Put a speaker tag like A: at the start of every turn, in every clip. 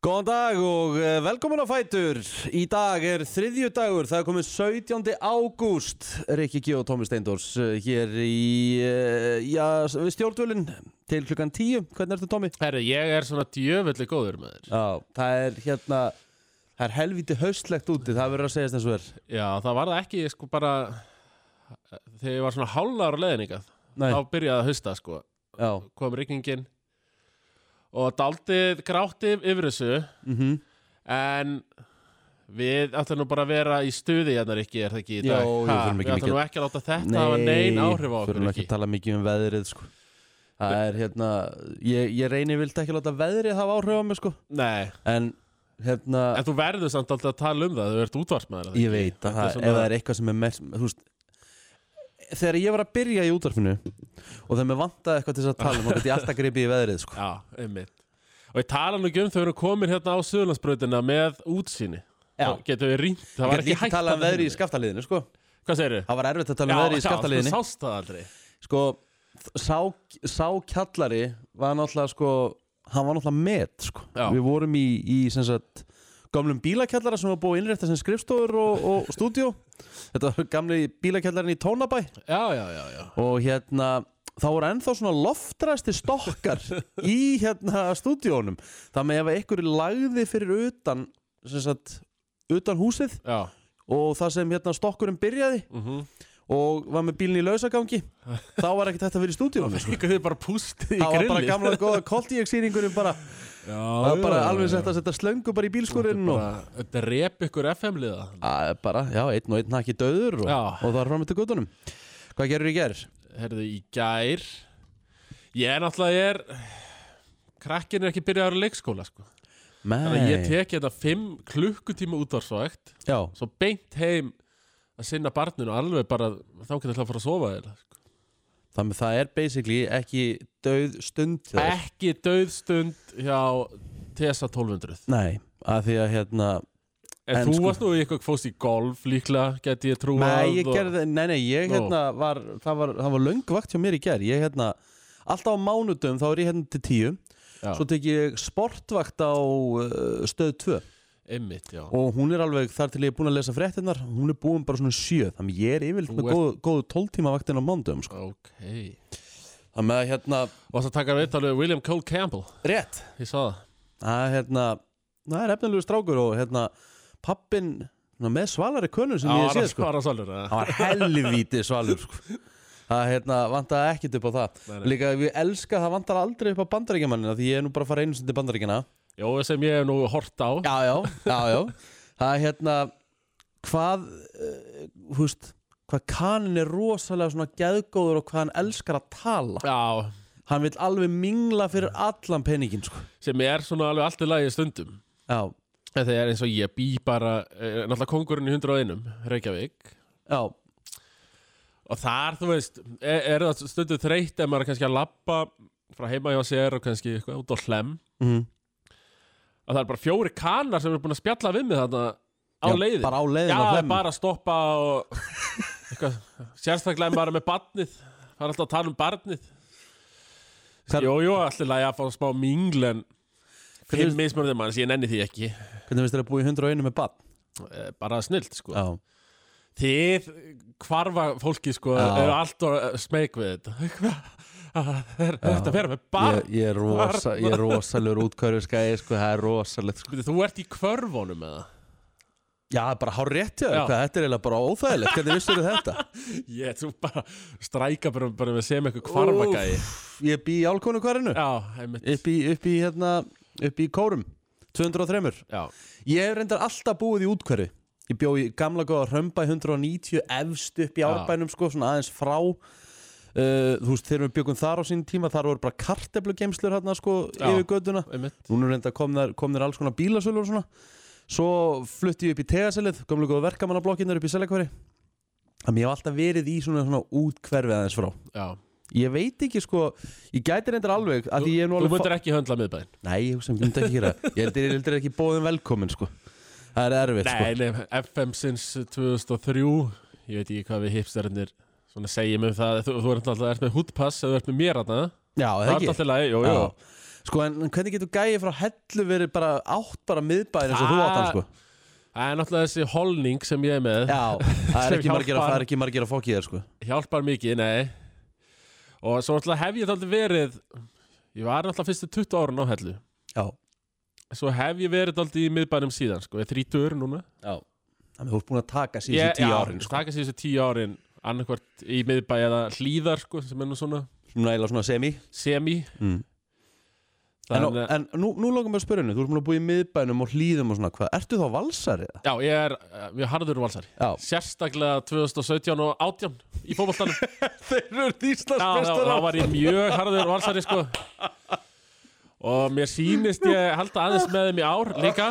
A: Góðan dag og eh, velkomin á Fætur. Í dag er þriðju dagur, það er komið 17. ágúst. Rikki G og Tómi Steindors eh, hér í, eh, já, við stjórnvölinn til klukkan 10. Hvernig ertu Tómi?
B: Herru, ég er svona djöfulli góður með þér
A: Já, það er hérna, það er helviti haustlegt úti, það verður að segjast eins og er.
B: Já, það var það ekki, sko, bara Þegar ég var svona hálfar leðningað
A: Nei,
B: Þá byrjaði að hausta, sko
A: já,
B: Kom rigningin Og daldið grátti yfir þessu
A: mhm.
B: En Við ætlum nú bara að vera í stuði hérna, Rikki, er það ekki í dag?
A: Jó, jú, þurfum ekki
B: Ha, Við ætlum
A: mikið-
B: nú ekki að láta þetta hafa nein áhrif á okkur,
A: þurfum ekki
B: Rikki
A: að tala mikið um veðrið, sko. Það er hérna, ég, ég reynir vilt ekki að láta veðrið hafa áhrif á mig, sko.
B: Nei,
A: En, hérna...
B: en þú verður samt alltaf að tala um það Þú ert útvarsmaður
A: Ég veit að það, ef það er eitthvað sem er mest, þú veist Þegar ég var að byrja í útvarfinu og þegar mér vantaði eitthvað til þess að tala um þá gæti ég alltaf gripið í veðrið, sko
B: Já, einmitt Og ég tala nú ekki um þau eru komin hérna á Suðurlandsbrautina með útsýni
A: Já.
B: Þá Getum við rýnt, það
A: Ég
B: var
A: gæti
B: ekki
A: líka
B: hægt
A: talað um
B: að
A: veðrið í
B: rýna.
A: skaftaliðinu, sko
B: Hvað segirðu?
A: Það var erfitt að tala um veðrið í skaftaliðinu
B: sko, sást það aldrei
A: Sko, sá, sá kjallari var náttúrulega, sko hann var náttúrulega met, sko
B: Já.
A: Við vorum í, í sem sagt, gamlum bílakjallara sem var búið innrætt sem skrifstofur og, og stúdíó Þetta var gamli bílakjallarinn í Tónabæ
B: Já, já, já, já
A: og hérna þá voru ennþá svona loftræsti stokkar í hérna stúdíónum þannig ef einhverju lagði fyrir utan sem sagt utan húsið
B: Já,
A: og það sem hérna stokkurinn byrjaði
B: mm -hmm.
A: og var með bílinn í lausagangi þá var ekkert þetta fyrir stúdíónum sko.
B: Fengu þið bara pústið
A: það
B: í
A: var bara
B: grilli
A: gamla góða koltíjaksýringunum bara,
B: Já,
A: það var bara alveg sett að setja slöngu bara í bílskurinn og
B: Þetta rep ykkur FM-liða
A: að, bara, já, einn og einn hakki döður og,
B: Já.
A: og það var fram eftir gutunum hvað gerur í gerð?
B: Herðu, í gær Ég er náttúrulega, ég er Krakkin er ekki byrjaður á leikskóla, sko Þannig að ég tek þetta fimm klukkutíma útvarsvægt
A: já,
B: svo beint heim að sinna barninu alveg bara þá getur það að fara að sofa eða sko.
A: þannig að það er basically ekki döð stund hjá þér.
B: ekki dauðstund hjá TSA 1200
A: Nei, að því að hérna
B: en,
A: En
B: þú
A: sko-
B: varst nú í eitthvað fóst í golf líklega geti ég trúið
A: Nei, ég gerði, nei, nei, ég
B: Nú.
A: hérna var, það var, það var löngvakt hjá mér í gerð Ég hérna, alltaf á mánudum þá er ég hérna til tíu
B: Já.
A: Svo tek ég sportvakt á uh, stöð 2
B: einmitt, já
A: Og hún er alveg, þar til ég er búin að lesa fréttinnar Hún er búin bara svona sjö Þannig ég er yfirleitt
B: Þú
A: með
B: ert-
A: góð, góð tóltíma vaktin á mánudum sko.
B: ok og
A: Þannig að hérna,
B: það takkar við talveg William Cole Campbell
A: rétt
B: ég sá það
A: Það er hérna, það er efnilegu strákur Og hérna, pappin með svalari könum sem ég sé sko.
B: svara svolur
A: hann var helvíti svalur sko. það hérna, vantaði ekkert upp á það líka við elska það vantar aldrei upp á bandaríkjamannina því ég er nú bara að fara einu sinni til bandaríkjana
B: jó sem ég hef nú hort á
A: já, já, já, já það er hérna hvað, eh, þú veist hvað kanin er rosalega svona geðgóður og hvað hann elskar að tala
B: já
A: hann vil alveg mingla fyrir allan peningin sko.
B: sem er svona alveg allt í lagi stundum
A: já,
B: en það er eins og ég bý bara eh, náttúrulega kongurinn í 101 Reykjavík
A: já,
B: Og þar, þú veist, er, er það stundu þreytt ef maður er kannski að labba frá heima hjá sér og kannski eitthvað út á hlem
A: mhm.
B: að það er bara fjóri kanar sem eru búin að spjalla við mig þarna á
A: já
B: leiði
A: bara á
B: Já,
A: leiðin á
B: það er
A: hlemmi.
B: bara að stoppa og eitthvað, sérstaklega ef maður er með barnið það er alltaf að tala um barnið
A: Hver-
B: Jú, jú, alltaf lægi að fá smá mingl en
A: Hvernig-
B: fimm mismörðum manns, ég nenni því ekki
A: hvernig finnst þér að búa í 101 með bann
B: Eh, bara snilt, sko
A: já,
B: Þið hvarfa fólki sko
A: Já.
B: er allt og smeg við þetta Það er þetta að vera með barn
A: ég, ég er rosa,
B: Barn.
A: ég er rosalegur útkörfiskæði sko, það er rosalegt sko.
B: Bíddu, Þú ert í kvörfunum eða?
A: Já, það er bara hár rétt hjá þér,
B: Já.
A: hvað þetta er eiginlega bara óþægilegt, hvernig vissur þau þetta?
B: Ég, þú bara stræka bara, bara með sem eitthvað kvarfagæði
A: Ég bý í álkonu hvarinu,
B: Já, einmitt
A: upp í, upp í, hérna, upp í kórum, 203.
B: Já,
A: Ég hef reyndar alltaf búið í útkörfi, ég bjó í gamla góða Römbæ 190 efst upp í
B: Já.
A: árbænum sko, svona aðeins frá. Uh, þú veist, þegar við byggum þar á sín tíma, þar voru bara karteflugemslur hérna sko
B: Já.
A: yfir göduna.
B: einmitt
A: Núna er reynda komnir, komnir alls konar bílasölur og svona Svo flutti ég upp í tegaselið Komlu góðu verkamannablokkinar upp í selekveri Þannig ég hef alltaf verið í svona, svona útkverfið aðeins frá
B: Já.
A: Ég veit ekki sko, ég gæti reyndar alveg að því ég er nú
B: Þú
A: alveg
B: myndir ekki höndla miðbæinn
A: Nei, ég hugsa, um- ég myndi ekki gera það. Ég heldur ég heldur ekki bóðin velkomin sko Það er erfitt sko
B: Nei, nei, FM sinns 2003 Ég veit ekki hvað við hipstarinnir svona segjum um það Þú, þú ert alltaf ert með hútpass eða þú ert með mér þarna
A: Já,
B: Það
A: það
B: er
A: ekki
B: alltaf í lagi, jú, jú
A: Já. Sko, en en hvernig getur gæið frá hellu verið bara átt bara miðbæðin eins og þú átt hann, sko?
B: Ah. Það er náttúrulega þessi holning sem ég er með
A: Já, það er
B: Sem
A: ekki margir að,
B: hjálpar.
A: það er ekki margir að fokki þér, sko.
B: Hjálpar mikið, nei Og svo náttúrulega hef ég þáttið verið Ég var náttúrulega fyrstu 20 árun á hellu
A: Já.
B: Svo hef ég verið þáttið í miðbænum síðan sko. Ég er 30 núna
A: Já. Þannig að þú ert búin að taka síðan
B: Ég-
A: tíu
B: já,
A: árin, sko.
B: Taka síðustu 10 árin annarkvart í miðbæ eða hlýðar sko, sem er nú svona
A: Svona eiginlega svona semi.
B: semi
A: Mm. En,
B: Þann,
A: en nú, nú langar mér að spyrja henni, þú ert búin að búa í miðbænum og hlýðum og svona, hvað, ertu þá valsarið?
B: Já, ég er eh, mjög harður valsari
A: Já.
B: Sérstaklega 2017 og 18 í fótboltanum Já,
A: Þeir eru Íslands
B: þá, þá var ég mjög harður valsari sko Og mér sýnist ég halda aðeins með þeim í ár líka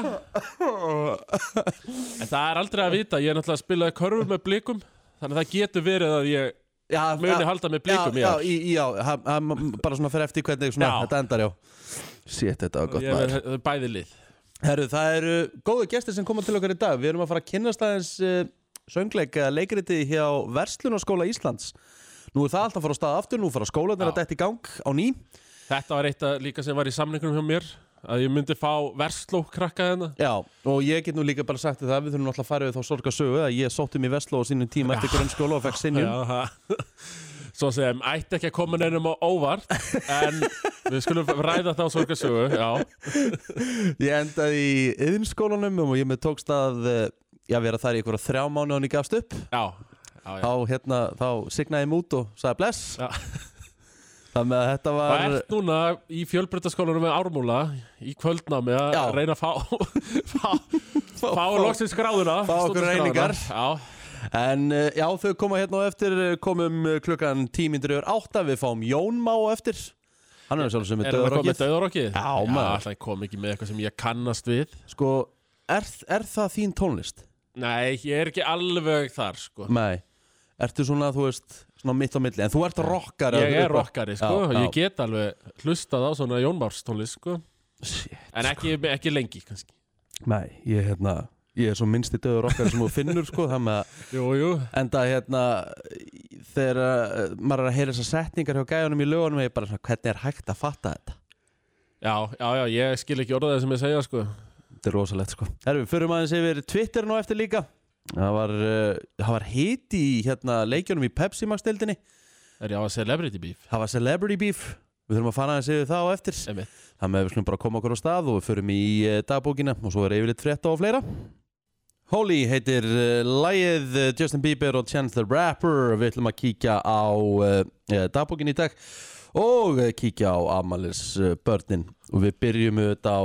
B: En það er aldrei að vita Ég er náttúrulega að spilaði körfur með blikum Þannig að það getur verið að ég
A: Já,
B: muni
A: já,
B: halda með blikum
A: já,
B: í
A: já,
B: ár
A: í, í- já, ha, ha, m- bara svona fyrir eftir hvernig svona,
B: Já.
A: þetta endar, já Sétt, þetta var gott
B: Ég
A: maður
B: er með bæði lið
A: Herru, það eru góðu gestir sem koma til okkar í dag Við erum að fara að kynnast aðeins uh, söngleika leikriti hjá Verslunarskóla Íslands Nú er það alltaf að fara á stað aftur, nú fara skólanir
B: Já.
A: að dætt í gang á ný
B: Þetta var eitt að, líka sem var í samningunum hjá mér Að ég myndi fá versló hérna. krakka þennan
A: Já, og ég get nú líka bara sagt þér það Við þurfum alltaf að fara við þá sorgarsögu að ég sótti mig í Vestló á sínum tíma eftir grunnskóla og fekk sinjum
B: Já, það- Svo sem ætti ekki að koma neinum á óvart En við skulum ræða þá sorgarsögu Já,
A: Ég endaði í yðinskólanum og ég með tókst að eh, já, vera þar í einhverja þrjá mánu og hann ég gafst upp
B: já, já, já.
A: þá, hérna, þá signaði ég mig út og sagði bless
B: Já.
A: Þannig að þetta
B: Það
A: var
B: ert núna í fjölbrytaskólanum með ármúla Í kvöldnámi að
A: Já.
B: reyna að fá Fá, fá, loksins gráðuna
A: fá okkur
B: stúdentskráðuna.
A: reiningar.
B: Já,
A: En eh, já, þau koma hérna og eftir eh, komum eh, klukkan tímindriður átta Við fáum Jón Má á eftir Hann er sjálf sem er
B: erum við komið
A: döðurokkið
B: döðarokkið?
A: Já,
B: já
A: maður.
B: alltaf kom ekki með eitthvað sem ég kannast við
A: Sko, er, er það þín tónlist?
B: Nei, ég er ekki alveg þar sko
A: Nei Ertu svona, þú veist, svona mitt á milli En þú ert rockari
B: Ég er rockari sko
A: Já, já.
B: Ég get alveg hlustað á svona Jónbárstónlist sko
A: Shit sko.
B: En ekki, ekki lengi kannski
A: Nei, ég, hérna, ég er svo minnsti döðurokkari sem þú finnur sko Þannig að
B: Jú, jú
A: Enda hérna þegar uh, maður er að heyra þessar setningar hjá gæjunum í lögunum er ég bara svona hvernig er hægt að fatta þetta
B: Já, já, já, ég skil ekki orðað það sem ég segja, sko.
A: Þetta er rosalegt sko Herru, við förum aðeins yfir Twitter nú eftir líka Það var, uh, það var hiti í hérna, leikjunum í Pepsi Max deildinni
B: Er ég á að celebrity beef?
A: Það var Celebrity Beef Við þurfum að fara aðeins yfir það á eftir
B: Einmitt.
A: Þannig að við slum bara koma okkur á stað og við förum í uh, dagbókina og svo er yfirleitt frétta og fleira Holy heitir uh, lægið uh, Justin Bieber og Chance the Rapper Við ætlum að kíkja á uh, uh, dagbókin í dag og uh, kíkja á Amalis uh, börnin og við byrjum auðvitað á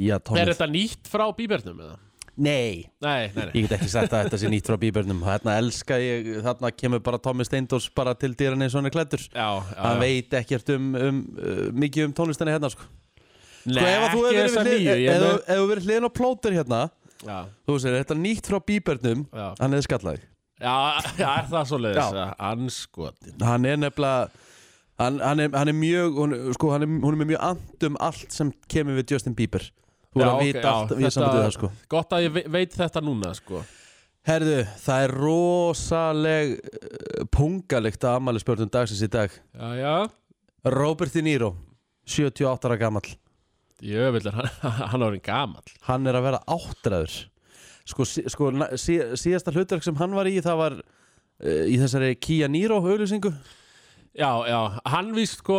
A: Já,
B: Er
A: tónlist
B: þetta nýtt frá bíbernum, eða?
A: Nei,
B: Nei, nei, nei.
A: Ég get ekki sagt að þetta sé nýtt frá bíbernum Þarna elska ég, þarna kemur bara Tommy Steindors bara til dýran eins og hann er klættur
B: Já, já,
A: Hann
B: já.
A: veit ekkert um, um uh, mikið um tónlistinni hérna sko
B: Nei,
A: Sko ef að þú
B: ekki
A: hefur
B: þessa
A: verið,
B: nýju,
A: hlið-
B: ég
A: ef þú-
B: með...
A: ef þú verið hliðin á plóter hérna
B: Já,
A: Þú veist, er þetta nýtt frá bíbernum
B: já.
A: Hann hefði skallað þig
B: Já, já, er það svo
A: Já.
B: leiðis? Anskotin.
A: Hann er nefnilega Hann, hann, er, hann er mjög, hún, sko, hann er, hún er með mjög and um allt sem kemur við Justin Bieber Þú er
B: Já,
A: að
B: ok,
A: vita
B: já,
A: allt í
B: þetta-
A: sambandi við það sko
B: Gott að ég ve- veit þetta núna, sko.
A: Herðu, það er rosaleg uh, pungalegt að ammæli spörnum dagsins í dag
B: Já, já.
A: Robert De Niro 78 ára gamall
B: Ég vil hann, hann var einn gamall.
A: hann er að vera áttræður sko, sí, sko na- sí, síðasta hlutverk sem hann var í það var uh, í þessari Kia Niro auðlýsingu
B: Já, já, hann víst, sko,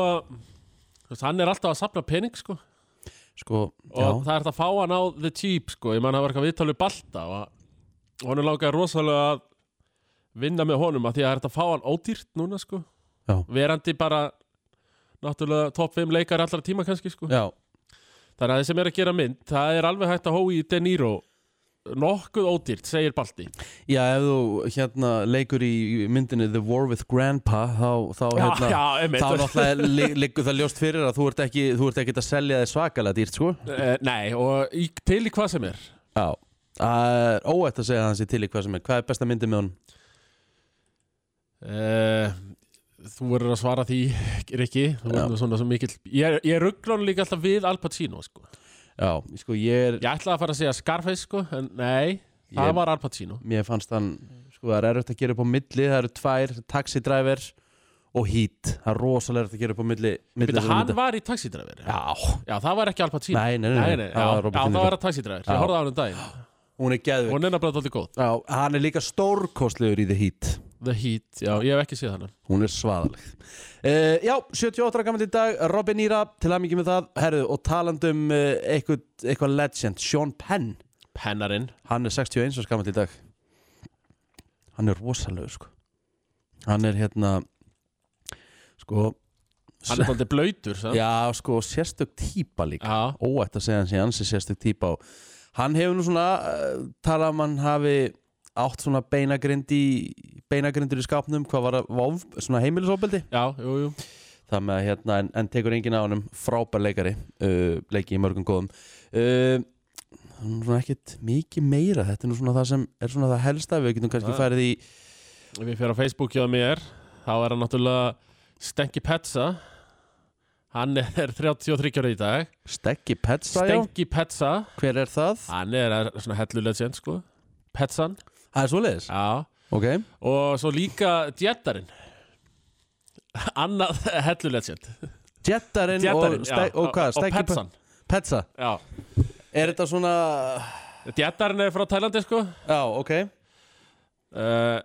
B: þú veist, hann er alltaf að sapna pening, sko.
A: sko,
B: og
A: já,
B: það er þetta að fá hann á The Cheap sko, ég man það var eitthvað viðtalið balta og og honum langaði rosalega að vinna með honum að því að það er þetta að fá hann ódýrt núna sko
A: Já.
B: verandi bara náttúrulega topp 5 leikar allra tíma kannski sko
A: já,
B: þannig að þeir sem er að gera mynd, það er alveg hægt að hóa í De Niro nokkuð ódýrt, segir Balti
A: já, ef þú hérna leikur í myndinni The War with Grandpa þá, þá hérna
B: já,
A: Þá náttúrulega li- liggur það ljóst fyrir að þú ert ekki, þú ert ekki að selja þig svakalega dýrt, sko.
B: Eh, nei, og í, til í hvað sem er
A: Já. Það er óætt að segja hans í til í hvað sem er. Hvað er besta myndin með hún?
B: Uh, þú verður að svara því, Rikki Þú
A: Já.
B: verður svona svo mikill Ég, ég ruggla hann líka alltaf við Al Pacino sko.
A: Já, sko, ég er,
B: Ég ætlaði að fara að segja Scarface sko, en nei, það
A: Ég-
B: var Al Pacino
A: mér fannst hann sko það er erfitt að gera upp á milli það eru tvær, taxidræver og hít það er rosalega erfitt að gera upp á milli, milli
B: Býta,
A: þessara
B: hann
A: mynda.
B: var í taxidræfir
A: Já,
B: Já, það var ekki Al Pacino
A: Nei, nei, nei, nei,
B: nei,
A: það
B: Já,
A: var
B: já,
A: Robert De
B: það
A: Niro.
B: var að taxidræfir
A: Já.
B: Ég horfði á hann um daginn
A: hún er
B: Og
A: geðvig
B: hann er nefnilega alltaf góð
A: Já, hann er líka stórkostlegur í The Heat
B: The Heat, já, ég hef ekki séð hann
A: Hún er svaðaleg uh, Já, 78 gammal í dag, Robin Íra til að mikið með það, herðu, og talandum uh, eitthvað, eitthvað legend, Sean Penn
B: Pennarinn
A: Hann er 61 árs gammal í dag Hann er rosalegur sko Hann er hérna Sko
B: Hann er bandið blöytur Já,
A: Já sko sérstök típa líka
B: já,
A: Óætt að segja hann sé ansi sérstök típa og Hann hefur nú svona uh, talað um hann hafi átt svona beinagrind í beinagrindur í skápnum hvað var að, váf, svona heimilisofbeldi
B: já, jú, jú
A: það með að hérna en, en tekur enginn á honum frábær leikari uh, leiki í mörgum góðum uh, hann er svona ekkit mikið meira þetta er nú svona það sem er svona það helsta við getum kannski
B: Já.
A: farið í
B: Ef ég fer á Facebook hjá mér Þá er hann náttúrulega Stenki Petsa Hann er 33 ára í dag
A: Steggi Petsa já.
B: Stenki Petsa
A: hver er það?
B: Hann er svona hellulegend sko Petsan,
A: Það er svoleiðis
B: já
A: ok
B: Og svo líka Djettarinn Annað hellulegend
A: Jettarinn og,
B: Djettarinn,
A: steg, og hvað?
B: Og
A: Steggi Pe-
B: Petsan,
A: Petsa
B: já
A: er þetta svona
B: Djettarinn er frá Tælandi sko
A: já ok
B: uh,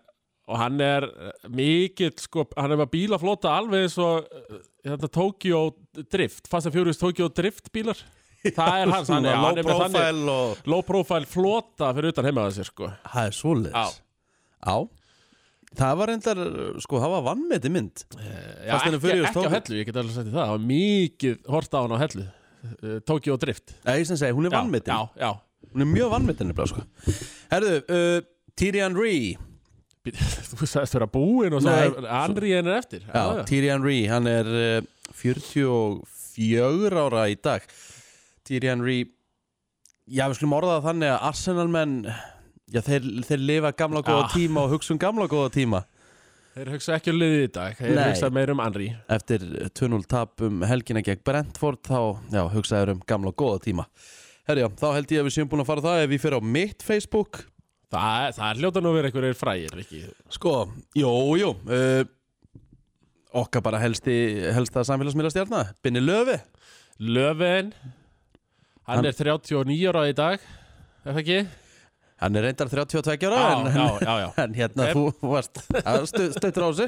B: og hann er uh, mikill sko, hann er með bílaflota alveg eins og uh, þetta Tokyo Drift, Fast and Furious Tokyo Drift bílar það er hans, hann,
A: Svona
B: er- hann er með þannig
A: og
B: low profile flota fyrir utan heima að sér sko
A: það er svoleiðis
B: Já.
A: já það var reyndar sko það var vannmeti mynd
B: Eh, Já,
A: Fast and
B: ekki,
A: Furious
B: ekki
A: Tokyo.
B: á hellu, ég get alveg sagt þér það, það var mikið hort á hann á hellu uh, Tokyo Drift
A: Nei, ég sem segi, hún er vannmeti
B: Já, já,
A: Hún er mjög vannmyndin nefnilega sko. Herðu, uh, Tyrion Ree
B: Bíddu, Þú sagðist vera búinn og
A: Nei.
B: sagði Andri henn er eftir
A: Já, Tyrion Ree, hann er uh, 44 ára í dag Tyrion Ree Já, við skulum orða það þannig að Arsenal menn Já, þeir, þeir lifa gamla góða
B: Já.
A: tíma og hugsa um gamla góða tíma
B: Þeir hugsa ekki um liðið í dag, þeir
A: Nei.
B: hugsa meir um Andri
A: Eftir 2-0 tap um helgina gegn Brentford þá, já, hugsaður um gamla góða tíma Herðu, já, þá held ég að við séum búin að fara það ef við fyrir á mitt Facebook
B: Það, það er hljóta nú að vera einhverjir frægir, ekki
A: Sko, jú, jú uh, Okkar bara helsti, helsta samfélagsmiðla stjarna Binni Löfi
B: Löfven Hann
A: Hann-
B: er 39 ára í dag Er það ekki?
A: Hann er reyndar 32 ára
B: Já,
A: en,
B: já, já, já
A: en hérna
B: Ef-
A: þú varst að stu, stöttur á þessu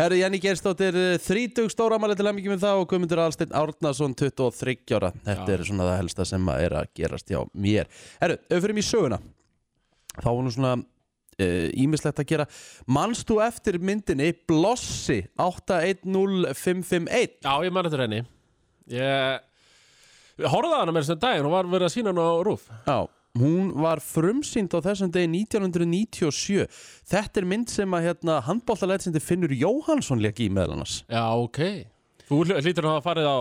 A: Herru Jenny Gerstóttir Þrítug stóramæli til hemmingjum um það og Guðmundur Alsteinn Árnason 23 ára Þetta
B: Já.
A: er svona það helsta sem að er að gerast hjá mér Herru, auðvitað í söguna Þá var nú svona Ímislegt að gera Manst þú eftir myndinni Blossi 810551
B: Já, ég man eftir henni Ég Ég horfði á hana mér sem daginn Hún var verið að sína hann á rúf
A: Já, hún var frumsýnd á þessum degi 1997 Þetta er mynd sem að hérna, handbóltalætsindi Finnur Jóhansson leik í meðal annars
B: Já, ok Þú hl- hlýtur hann að hafa farið á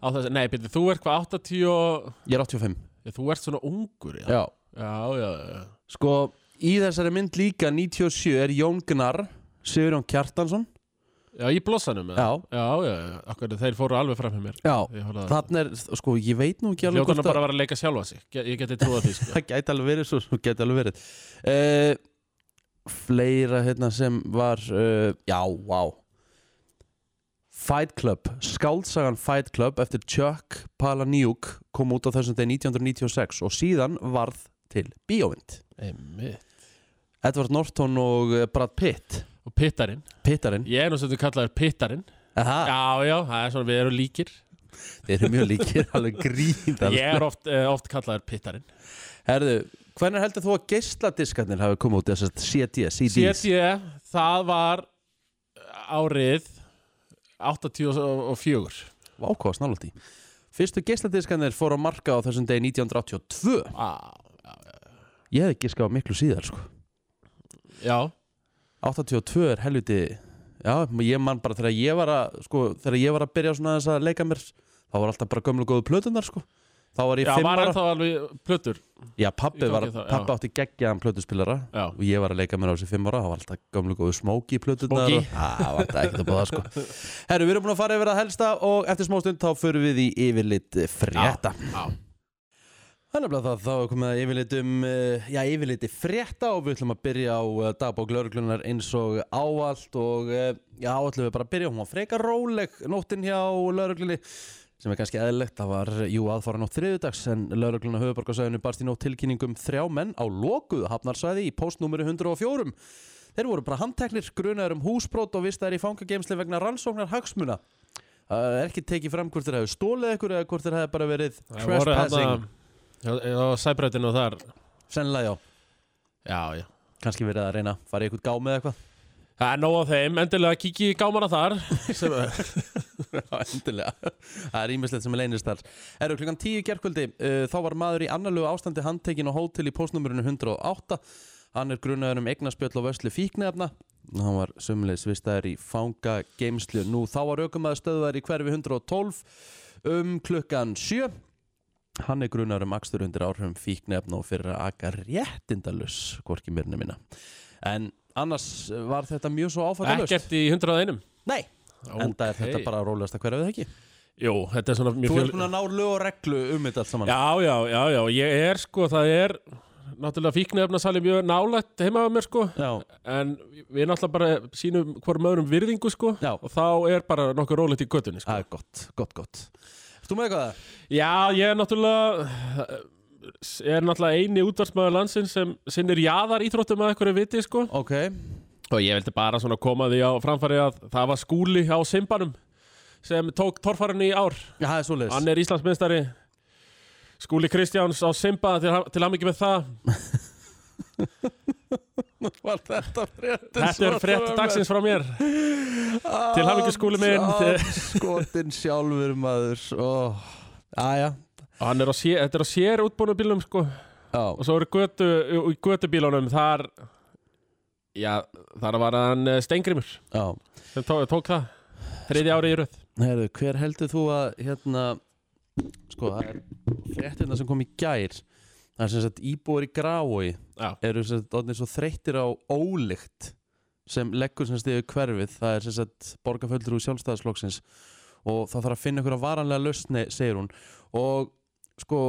B: Á þessi, nei, byrju, þú ert hvað 80 og...
A: Ég er 85
B: Já, Þú ert svona ungur, já
A: Já,
B: Já, já, já
A: sko í þessari mynd líka 97 er Jón Gnar Sigurjón Kjartansson
B: Já, í blossanum eða?
A: Já,
B: já, já, já. Akkur, þeir fóru alveg fram hjá mér
A: já,
B: Ég horfði á það
A: þannig er, sko ég veit nú ekki alveg
B: Hljóta hann
A: að
B: bara að vera að leika sjálfa sig Ge- Ég geti trúið því, sko
A: það gæti alveg verið svo, svo gæti alveg verið uh, Fleira hérna sem var uh, Já, vá Fight Club, skáldsagan Fight Club eftir Chuck Palahniuk kom út á þessum degi 1996 og síðan varð til bíóvind
B: Einmitt.
A: Edward Norton og eh, Brad Pitt
B: Og pittarinn
A: Pittarinn
B: Ég er nú sem þú kallaður pittarinn
A: Aha,
B: Já, já, það er svona, við erum líkir
A: þeir eru mjög líkir, alveg gríðar
B: Ég er oft, uh, oft kallaður pittarinn
A: Herðu, hvernig heldur þú að geisladiskarnir hafi komið út þessast CD, CDs?
B: CD, það var eh, árið 84
A: Vákvað snált í Fyrstu geisladiskarnir fór á marka á þessum degi 1982
B: ah,
A: Ég hefði giskað á miklu síðar sko
B: Já,
A: 82 er helviti Já, ég man bara þegar ég var að sko, þegar ég var að byrja svona þess að leika mér þá var alltaf bara gömlu góðu plötunar sko þá var ég
B: já
A: fimm
B: var
A: ára
B: ennþá alveg plötur
A: Já, pabbi,
B: í gangi
A: var,
B: þá, já.
A: pabbi átti geggjaðan plötuspilara
B: Já,
A: og ég var að leika mér á þessi fimm ára það var alltaf gömlu góðu smóki plötunar
B: Smokey.
A: og, Á, það var alltaf ekkert að bóða sko Herru, við erum búin að fara yfir að helsta og eftir smá stund þá förum við í yfirlit frétta
B: já
A: Þannig að það þá er komið að yfirlit um, eh, já yfirliti frétta og við ætlum að byrja á eh, dagbók lauruglunar eins og áallt og eh, já ætlum við bara að byrja, hún var frekar róleg nóttin hjá lauruglunni sem er kannski eðlilegt, það var jú aðfara nótt þriðudags en laurugluna höfuborgarsæðinu barst í nótt tilkynningum þrjá menn á lokuðu hafnarsæði í postnúmeri 104. Þeir voru bara handteknir, grunaður um húsbrót og vistaðir í fangageimsli vegna rannsóknar hagsmuna. Það er ekki tekið fram hvort þeir hefðu stólið ekkur eða hvort þeir hefðu bara verið
B: Það voru
A: trespassing.
B: þarna- Já, Það var sæbrætinu þar
A: Sennilega já,
B: Já, já
A: kannski verið að reyna að fara í eitthvað gám eða eitthvað
B: Það er nóg af þeim, endilega kikið í gámana þar sem,
A: Endilega, það er ímislegt sem er leynist þar Eru klukkan 10 gerkvöldi, uh, þá var maður í annarlegu ástandi handtekinn á hótel í postnumurinu 108 Hann er grunaður um eignaspjöll og vöslu fíknefna Hann var sömulegis vistaður í fanga geimslu Nú þá var aukumaður stöðuðar í hverfi 112 um klukkan 7 Hann er grunar um akstur undir áhrifum fíknefna og fyrir að aka réttindalus, hvorki myrni minna. En annars eh, var þetta mjög svo áfattalust.
B: Ekkert í 101
A: Nei, enda er þetta
B: Ókei.
A: bara rólegast að hverja við ekki
B: Jú, þetta er svona mjög
A: Þú
B: fjöl-
A: ert búin að ná lög og reglu um þetta allt saman
B: Já, já, já, já, ég er sko, það er náttúrulega fíknefnasali mjög nálægt heima á mér sko
A: já,
B: en við náttúrulega bara sínum hvorm öðrum virðingu sko
A: Já.
B: og þá er bara nokkuð rólegt í göttunni sko.
A: það er gott, gott, gott Ertu með eitthvað það?
B: Já, ég er náttúrulega er náttúrulega eini útvarsmaður landsins sem sinnir jaðar íþróttum að einhverju viti sko
A: Ok,
B: og ég vildi bara svona koma því á framfæri að það var skúli á Simbanum sem tók torfarinn í ár
A: já, það er svoleiðis
B: Hann er Íslandsmeistari Skúli Kristjáns á Simba til, til hann með það
A: var þetta frétt
B: Þetta er frétt dagsins frá mér
A: Ah,
B: Til hamingju, Skúli minn.
A: Skotin sjálfur maður og... Æja,
B: og hann er á sér, þetta er á sér útbúinu bílum sko
A: já,
B: og svo eru götu, í götubílunum þar já, þar var hann eh, Steingrímur
A: já
B: sem tók, tók það þriði ári í röð
A: Herðu, hver heldur þú að hérna sko, það er fréttina sem kom í gær það er sem sagt íbúar í grái
B: Já.
A: eru sem sagt orðin svo þreyttir á ólikt sem leggur sem stigur hverfið það er sem sagt borgarföldur úr sjálfstæðaslokksins og það þarf að finna ykkur að varanlega lausni, segir hún og sko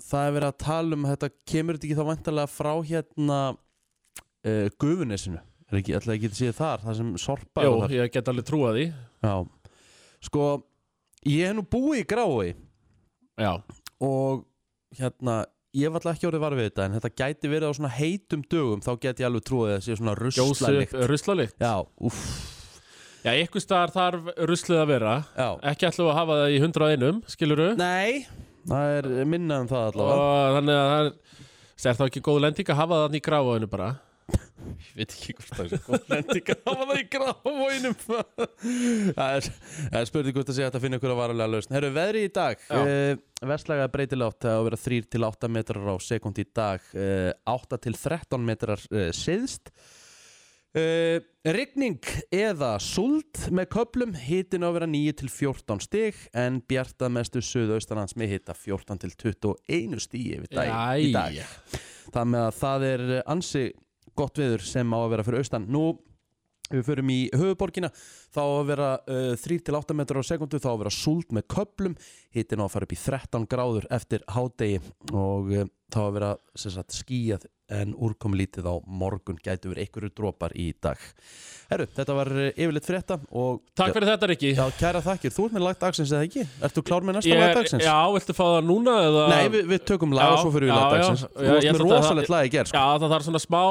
A: það er verið að tala um að þetta kemur þetta ekki þá vantarlega frá hérna uh, gufunesinu er ekki, alltaf ekki þetta séð þar, það sem sorpa
B: Jú,
A: er þar.
B: ég get alveg trúað því
A: Já, sko ég hef nú búið í grái
B: já,
A: og hérna, ég var alltaf ekki orðið varfið þetta en þetta gæti verið á svona heitum dögum þá gæti ég alveg trúið að það sé svona
B: gjósup,
A: ruslalikt
B: ruslalikt
A: Já, úff,
B: já, einhvers staðar þarf ruslið að vera
A: já
B: ekki ætlum við að hafa það í 101 skiluru
A: Nei, það er minna en það allavega
B: og þannig að það er Það er þá ekki góð lending að hafa það þannig í gráðinu bara
A: Ég veit ekki hvort það er góð lending að hafa það í gráfóinum Það er, það er spurning hvort það sé hægt að finna ykkur að varulega lausn Herru, veðri í dag
B: Já.
A: uh, Vestlaga breytilátt það á að vera 3 til 8 metrar á sekund í dag uh, 8 til 13 metrar uh, siðst uh, Rigning eða sult með köplum hitin á að vera 9 til 14 stig en bjarta mestu suðaustanlands með hita 14 til 21 stíi yfir dag, í dag
B: Jæja.
A: Það með að það er ansi gott viður sem á að vera fyrir austan Nú, ef við förum í höfuborgina þá á að vera uh, 3-8 metrar á sekundu þá á að vera súld með köplum hittin á að fara upp í 13 gráður eftir hádegi og uh, þá á að vera sem sagt, skíjað en úrkomlítið á morgun gætu verið einhverju dropar í dag Herru, þetta var uh, yfirleitt frétta og
B: Takk fyrir þetta Rikki
A: Já, kæra þakkir, þú ert með lagt dagsins eða ekki? Ertu klár með næsta
B: Ég
A: lagt
B: er-
A: dagsins?
B: Já, viltu fá það núna eða
A: Nei, við, við tökum lag og
B: Já,
A: svo fyrir við
B: já,
A: lagt
B: já.
A: dagsins Þú
B: Já,
A: varst
B: ég
A: með
B: ætla að-
A: rosalegt lag í sko. gerð
B: Já, það þarf svona smá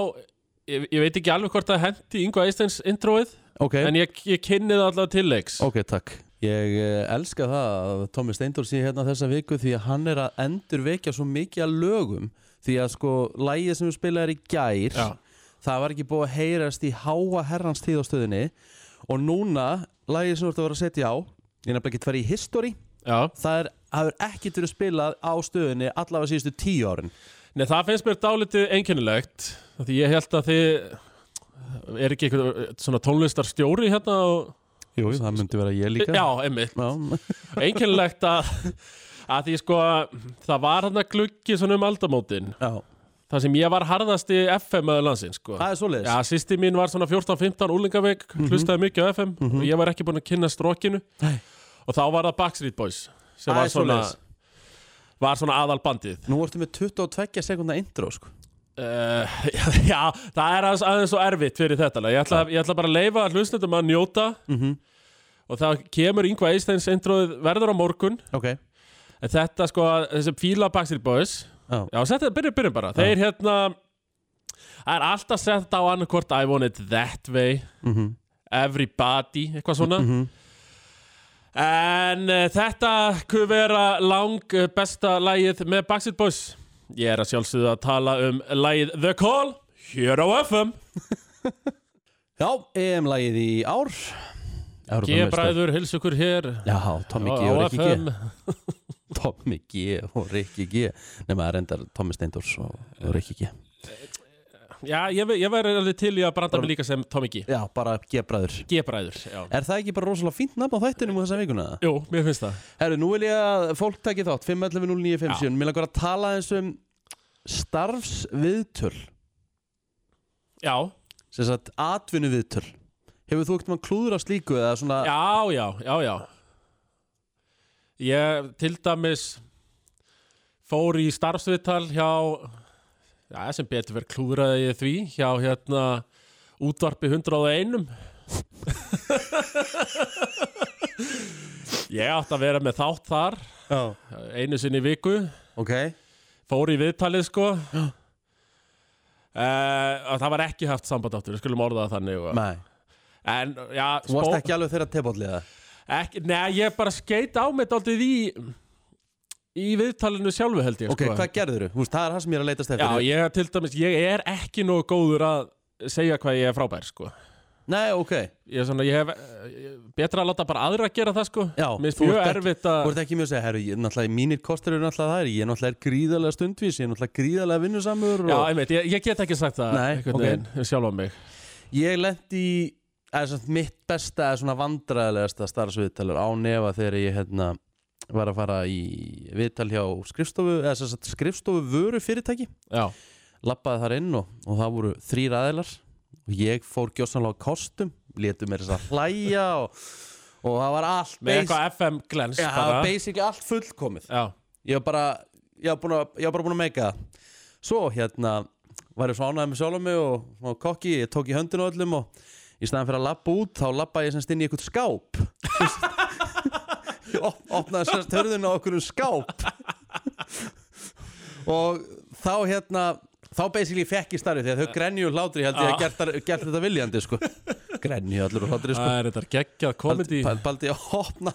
B: Ég, ég veit ekki alveg hvort það hendi Ingo Eisteins introið
A: Ok,
B: En ég, ég kynni það alltaf til leiks
A: ok, takk Ég eh, elska það að Tómi Steindór sé hérna þessa viku því að hann er að endur vekja svo mikið að lögum því að sko, lægið sem við spilaði í gær
B: Já.
A: það var ekki búið að heyrast í háa herrans tíð á stöðinni og núna, lægið sem þú ert að vera að setja á ég er nefnilega ekki tverri í history
B: Já.
A: það er, það er ekkert verið spilað á stöðinni allavega síðustu tíu árin
B: Nei, það finnst mér dálítið einkennilegt af Því ég held að þið Er ekki eitthvað svona tónlistarstjóri hérna og...
A: Jú, það myndi vera ég
B: Já, emmi
A: Já,
B: Einkennilegt að, að því sko Það var hann að gluggi svona um aldamótin
A: já.
B: Það sem ég var harðasti FM aður landsins sko.
A: það er svoleiðis Mhm.
B: Já, sýsti mín var svona 14-15 úlingaveik, hlustaði mikið á FM og ég var ekki búinn að kynna strókinu
A: Nei.
B: og þá var það Backstreet Boys sem
A: Æ,
B: var svona
A: svoleiðis.
B: var svona aðalbandið
A: Nú ertu með 22 sekunda intro sko.
B: Uh, já, það er aðeins, aðeins svo erfitt fyrir þetta lag. Ég ætla, ég ætla bara að leifa hlustnendum að njóta
A: Mhm.
B: og það kemur yngva Ísteins introð verður á morgun
A: Ok
B: en þetta sko, þessi fíla Backstreet Boys
A: Já.
B: Já, setja, byrjum, byrjum bara Þeir hérna Það er alltaf sett á annarkvort I want it that way
A: Mhm.
B: Everybody, eitthvað svona En uh, þetta kuð vera lang eh, besta lagið með Backstreet Boys Ég er að sjálfsögðu að tala um lagið The Call Hér á FM
A: Já, EM-lægið í ár
B: G bræður, hilsu ykkur hér
A: Já, Tommy G og
B: Á
A: Rikki G Tommy G og Rikki G Nefn að reyndar Tommy Steindors og, og Rikki G
B: Já, ég, ve- ég væri alveg til í að branda mig líka sem Tommy G
A: Já, bara G-bræður
B: G bræður, já
A: Er það ekki bara rosalega fínt nafn á þættinum þessa vikuna?
B: Jú, mér finnst það
A: Herru, nú vil ég að fólk taki þátt 5.11.09.57
B: Já.
A: Mér langar að tala eins um starfsviðtöl
B: Já,
A: sem sagt atvinnuviðtöl Hefur þú ekkert mann klúður að slíku eða svona
B: Já, já, já, já Ég til dæmis fór í starfsviðtal hjá já, sem betur verið klúðraði ég því hjá hérna útvarpi 101 Ég átti að vera með þátt þar
A: Já.
B: einu sinni í viku
A: Ok
B: fór í viðtalið sko Eh, uh, það var ekki haft samband áttur, við skulum orða það þannig og-
A: Nei,
B: en já,
A: þú varst ekki alveg þeirra tebollið
B: Ekki, nei, ég bara skeit á mig dálítið í í viðtalinu sjálfu held ég
A: Ok,
B: sko.
A: hvað gerður þú? Það er það sem ég er að leitast
B: Já,
A: eftir
B: ég til dæmis, ég er ekki nógu góður að segja hvað ég er frábær sko. Eh,
A: Nei, ok
B: ég, er svona, ég hef ég, betra að láta bara aðra gera það sko.
A: Já,
B: Mér finnst
A: þú
B: mjög
A: ert ekki-
B: erfitt
A: Þú
B: að
A: ert ekki mjög að segja, herru, ég, náttúrulega mínir kostur eru náttúrulega það Ég er náttúrulega gríðarlega stundvís, ég er náttúrulega gríðarlega vinnusamur
B: Já,
A: og...
B: einmitt, ég, ég get ekki sagt það
A: Nei,
B: einhvern
A: ok.
B: veginn, um sjálfa mig
A: Ég lendi í eða, samt, mitt besta, eða svona vandræðilegasta starfsviðtalur á nefa þegar ég hérna, var að fara í viðtal hjá skrifstofu, eða sem sagt, skrifstofu vöru fyrirtæki
B: Já,
A: Lappaði þar inn og, og það voru þrýr aðilar og ég fór gjósanlega á kostum, létu mér þess að hlæja og, og það var allt
B: með
A: bas-
B: eitthvað FM glens
A: Já, það
B: bara.
A: var basically allt fullkomið
B: Já,
A: ég var bara ég var, búin að, ég var bara búin að meika það svo hérna var ég svo ánægð með sjálfum mig og, og kokki, ég tók í höndinu á öllum og í staðan fyrir að lappa út þá lappa ég semst inn í eitthvað skáp ég op- opnaði semst hörðinu á okkur skáp og þá hérna þá basically fekk ég starfið þegar þau grenju úr hlátri ég held ég að gert, þar- gert þetta viljandi sko. grenju allir úr hlátri sko.
B: það er þetta geggjað komedi
A: Baldi, Baldi að opna,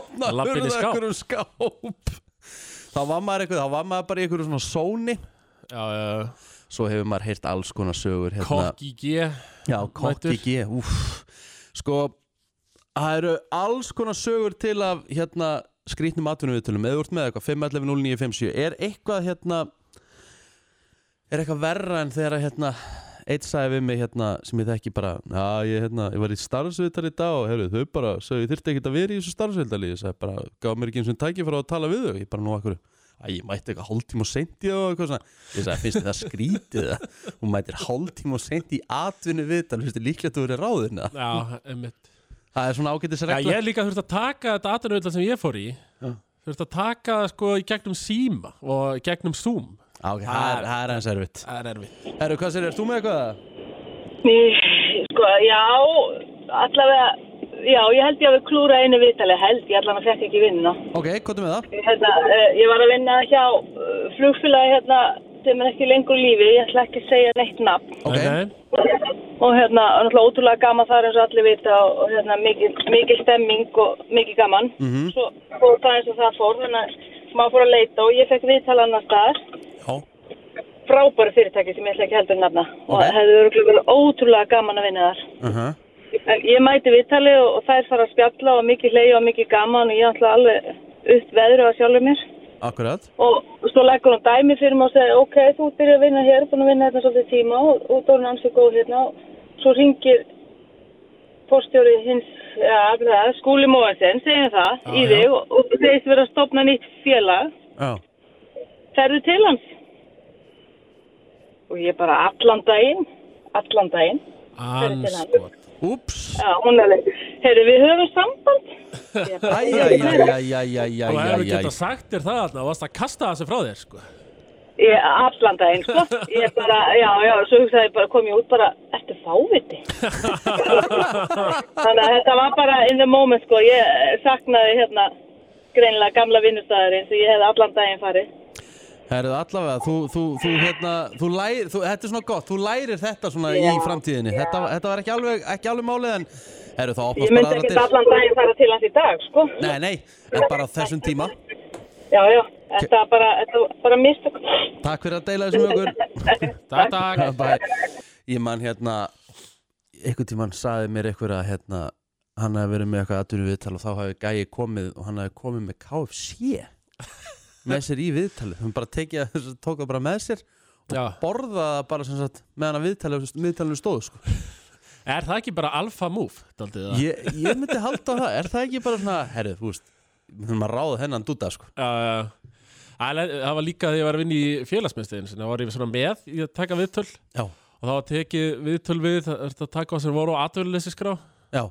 A: opna
B: Að labba inn í skáp.
A: hurðakur um skáp Þá var maður eitthvað, þá var maður bara í einhverju svona sóni
B: Já, já,
A: Svo hefur maður heyrt alls konar sögur hérna.
B: kokki G
A: Já, kokki
B: mættur.
A: G, úff Sko, það eru alls konar sögur til af hérna skrýtnum atvinnuviðtölum eða þú ert með eitthvað, 511-0957 Er eitthvað hérna Er eitthvað verra en þegar að, hérna Eitt sagði við mig hérna sem ég þekki bara Já, ég, hérna, ég var í starfsviðtal í dag og heyrðu, þau bara, sögðu, ég þyrfti ekkert að vera í þessu starfsviðtali Ég sagði bara, gaf mér ekki eins og tæki fyrir að tala við þau Ég bara nú akkur Æ, ég mætti eitthvað hálftíma og seinti og eitthvað svona Ég sagði, finnst þið það skrítið það? Hún mætir hálftíma og seinti í atvinnu viðtal Finnst þið líklegt að þú verið ráðin eða?
B: Já, einmitt
A: Það er svona ágætis
B: Já,
A: regla
B: ég líka þurfti að taka þetta atvinnuðvöldar sem ég fór í
A: Já.
B: þurfti að taka það sko í gegnum síma og í gegnum Zoom
A: Á, ok, það er, það er eins erfitt
B: Það er erfitt
A: Herru, hvað sér, er þú með eitthvað?
C: Ný, Sko, já, allavega, já, ég held ég hafi klúra einu viðtali, held ég allavega fekk ekki vinna.
A: Ok, hvað er með það?
C: Hérna, eh, ég var að vinna hjá eh, flugfélagi hérna sem er ekki lengur í lífi, ég ætla ekki að segja neitt nafn.
A: Ok,
B: Nei, nei.
C: Og hérna, það var náttúrulega ótrúlega gaman þar eins og allir vita og, og hérna, mikið, mikið stemming og mikið gaman. Mm
A: Mhm.
C: -hmm. Svo fór það eins og það fór, þannig að maður fór að leita og ég fekk viðtal annars staðar.
A: já
C: Frábæru fyrirtæki sem ég ætla ekki heldur nafna. Og
A: Ok.
C: hefði örugglega verið ótrúlega gaman að vinna þar.
A: uh -huh.
C: En ég mæti viðtali og, og þær fara að spjalla og mikið hlegi og mikið gaman og ég ætla alveg upp veðru á sjálfur mér.
A: Akkurat
C: Og, og svo leggur hún dæmi fyrir mig og segir, ok, þú ert byrjuð að vinna hér, búin að vinna hérna svolítið tíma og og þú er námsið góð hérna. Og svo ringir fórstjóri hins, ja, það, skúli móðansinn, segir það,
B: Já,
C: í
B: já.
C: þig og, og segist vera að stopna nýtt félag.
A: Já,
C: Ferðu til hans? Og ég bara allan daginn, allan daginn. til hann.
B: Anskot
A: Úps
C: Já, hún er leið. Heyrðu, við höfum samband. Ég bara-
B: og hefur
A: Æjæjæjæjæjæjæjæjæjæjæjæjæjæjæjæjæjæjæjæjæjæjæjæjæjæjæjæjæjæjæjæjæjæjæjæjæjæjæjæjæ
B: getað sagt þér það alltaf, varst að kasta þessi frá þér sko.
C: Ég allan daginn, sko. Já, já, svo hugsaði ég bara, kom ég út bara, ertu fáviti? Þannig að þetta var bara in the moment, sko. Ég saknaði hérna greinlega gamla vinnustæður eins og ég hefði allan daginn farið.
A: Herðu allavega, þú, þú, þú, hérna, þú lærir, þú, þetta er svona gott, þú lærir þetta svona
C: Já,
A: í framtíðinni. Þetta, þetta var ekki alveg, ekki alveg málið en, herðu þá
C: Ég
A: opnast
C: myndi
A: bara aðra
C: ekki
A: dyr.
C: allan daginn fara til hans í dag, sko.
A: Nei, nei, en bara á þessum tíma.
C: Já, já, þetta var bara, þetta var bara mistök.
A: Takk fyrir að deila þessu með okkur.
B: Takk, takk.
A: Bæ. Ég man hérna, einhvern tímann saði mér einhver að hérna, hann hafi verið með eitthvað aðtunum viðtal og þá hafi gæi komið og hann hafi komið með KFC með sér í viðtalið. Hann bara tekið, að- tók það bara með sér
B: Já.
A: borða það bara sem sagt með hann að viðtalið, viðtalið stóðu sko.
B: Er það ekki bara alfa move? Daldið,
A: ég, ég myndi halda það, er það ekki bara svona herrið, þú veist, við höfum að ráða hennan dúta sko.
B: Já, já, já. Það er- það var líka þegar ég var að vinna í félagsmyndstegin það var ég svona með í að taka viðtöl
A: já,
B: og það var tekið viðtöl við það er að taka á sem voru á atvinnuleysinskrá
A: já,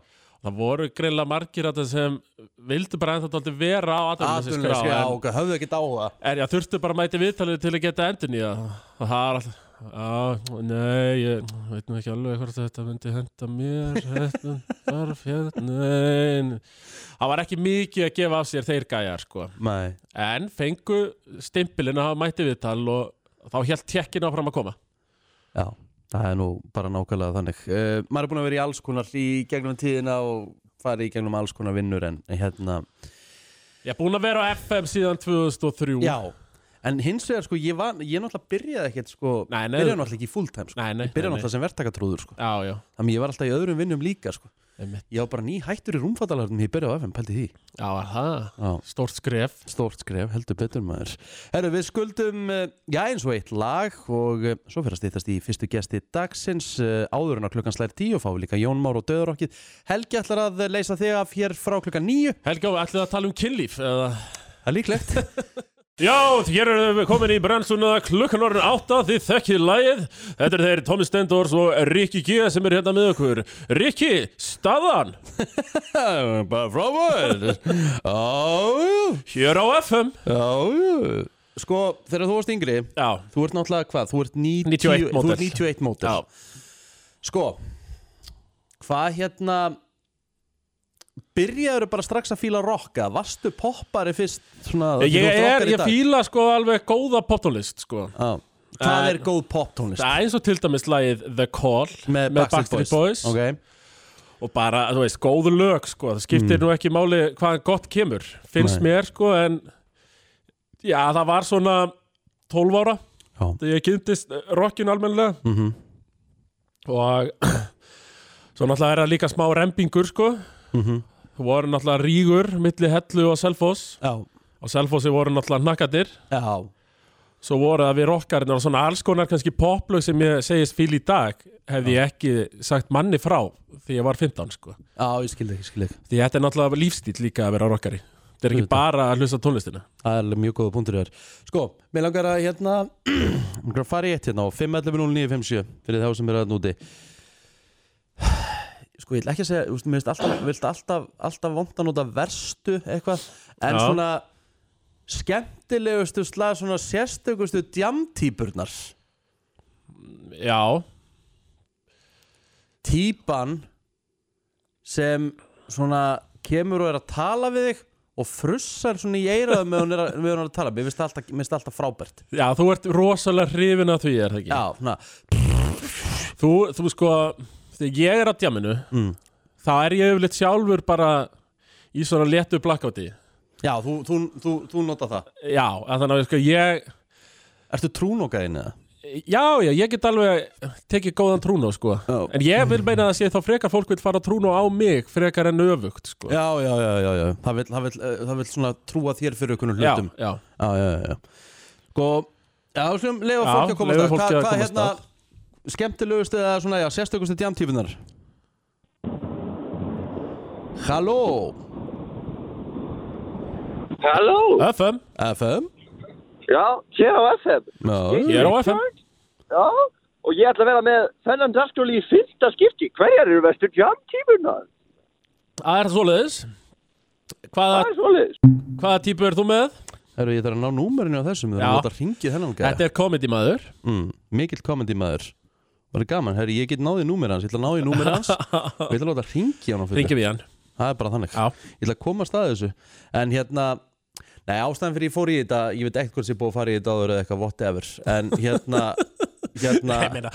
B: það voru greila margir að það sem vildu bara ennþá daldið vera á
A: atvinnulega
B: atvinnuleysinskrá
A: já,
B: en,
A: ok, höfðu ekki dáða
B: en ég þurfti bara að mæti viðtalið til að geta endur nýja og það er alltaf Já, nei, ég veit nú ekki alveg hvort þetta myndi henda mér hérna, þarf hérna nei. Það var ekki mikið að gefa af sér þeir gæjar, sko
A: nei,
B: En fengu stimpilinn að hafa mætti viðtal og þá hélt tjekkin áfram að koma.
A: já, það er nú bara nákvæmlega þannig uh, maður er búin að vera í alls konar í gegnum tíðina og farið í gegnum alls konar vinnur en en hérna,
B: Ég er búin að vera á FM síðan 2003.
A: já en hins vegar sko, ég var, ég náttúrulega byrjaði ekkert sko,
B: Nei, nei.
A: byrjaði náttúrulega ekki í fulltime sko.
B: Nei, nei,
A: ég byrjaði
B: nei, nei.
A: náttúrulega sem verktakatrúður sko.
B: Já, já.
A: þannig ég var alltaf í öðrum vinnum líka sko.
B: Einmitt.
A: ég var bara ný hættur í rúmfattalarnum ég byrjaði á FM, pældi því
B: Já, var það.
A: já.
B: Stórt skref.
A: Stórt skref, heldur betur maður Herru, við skuldum, eh, já eins og eitt lag og eh, svo fyrir að stýttast í fyrstu gesti dagsins eh, áður en á klukkan slær tíu og fáum við líka Jón Már og Döðurokkið Helgi ætlar að leysa þig af hér frá klukkan níu
B: Helga, ætlið að tala um kynlíf? Eða...
A: Það er líklegt
B: Já, hér erum við komin í brennsluna klukkan orðin átta því þekkið lagið. Þetta er þeir Tommy Stendors og Rikki G sem er hérna með okkur. Rikki, staðan,
A: Bara frábæð Já,
B: hér á FM.
A: já Sko, þegar þú varst yngri
B: Já,
A: Þú ert náttúrulega hvað? Þú ert 90,
B: 91
A: Þú
B: módel.
A: ert 91 mótel
B: Já.
A: Sko Hvað hérna Byrjaður bara strax að fíla rocka Vastu poppari fyrst svona,
B: ég
A: þú ert
B: er,
A: rockari í
B: ég
A: dag.
B: fíla sko alveg góða poptónlist sko.
A: Já. Hvað
B: En-
A: er góð popptónlist?
B: Það er eins og til dæmis lagið The Call með, Backstreet Boys,
A: Ok.
B: og bara, þú veist, góðu lög sko, það skiptir nú ekki máli hvaðan gott kemur finnst
A: Nei.
B: mér sko, en já, það var svona 12 ára
A: Já.
B: þegar ég kynntist eh, rockin almennilega
A: Mhm.
B: og svo náttúrulega er það líka smá rempingur sko,
A: Mhm.
B: voru náttúrulega rígur milli Hellu og Selfoss
A: Já.
B: og Selfossi voru náttúrulega nakkadir
A: Já.
B: svo voru það við rockarinn og svona alls konar kannski poplög sem ég segist fíl í dag hefði ég ekki sagt manni frá því ég var 15 sko
A: Já, ég skildi ekki, skildi ekki
B: því þetta er náttúrulega lífstíl líka að vera rockari þetta er ekki
A: Auðvitað.
B: bara að hlusta á tónlistina
A: Það er alveg mjög góða punktur þér Sko, mér langar að hérna Mér langar að fara í eitt hérna á 5.11.09.57 Fyrir þá sem eru að núti Sko, ég ætla ekki að segja Þú veist, mér finnst alltaf, vilt alltaf, alltaf vont að nota verstu eitthvað En
B: Já.
A: svona skemmtilegustu slag Svona sérstökustu djamtýpurnar
B: já,
A: Týpan sem svona kemur og er að tala við þig Og frussar svona í eiraðum með hún er að, meðan hún er að tala Mér finnst það alltaf, mér finnst það alltaf frábært
B: já, þú ert rosalega hrifin af því er það ekki
A: Já, svona
B: þú, þú sko, þegar ég er að djaminu
A: Mm.
B: þá er ég yfirleitt sjálfur bara í svona léttu blackouti
A: Já, þú, þú, þú, þú nota það
B: já, að þannig að sko, ég
A: Ertu trúnokaðin eða?
B: Já, já, ég get alveg tekið góðan trúnó, sko
A: Já.
B: En ég vil meina að sé þá frekar fólk vil fara trúnó á mig frekar en öfugt, sko
A: Já, já, já, já, já. Það, vill, það, vill, eh, það vill svona trúa þér fyrir okkur
B: já,
A: hlutum
B: já.
A: Já, já, já, já Sko, já, þú slum, leifa
B: Já,
A: fólki að komast
B: leyfa
A: að
B: fólki
A: Hvað,
B: að
A: hvað
B: komast
A: hérna, skemmtilegust eða svona, já, sérstökustu djamtífunar Halló
D: Halló?
B: FM,
A: FM
D: Já, hér á FM.
A: Já,
B: ég er á FM
D: Já, og ég ætla að vera með þennan dagskjóli í fyrsta skipti. Hverjar eru vestur jamtímurnar?
B: Það er svoleiðis Hvaða,
D: Það er svolítið.
B: hvaða típu er þú með?
A: Herru, ég þarf að ná númerinu á þessum, við
B: Já.
A: þarfum að láta ringið hennan gæða.
B: Þetta er komedi maður
A: Mm, mikill komandi maður. Það er gaman, herru, ég get náðið númer hans, ég ætla að náðið númer hans og ég ætla að láta ringið hann á fullu.
B: Ringjum við hann
A: Það er bara þannig.
B: Já.
A: Ég ætla að koma að staði þessu. En hérna, nei, ástæðan fyrir ég fór í þetta, ég veit ekkert hvort ég búið að fara í þetta áður eða eitthvað whatever. En hérna, hérna,
B: Ég meina,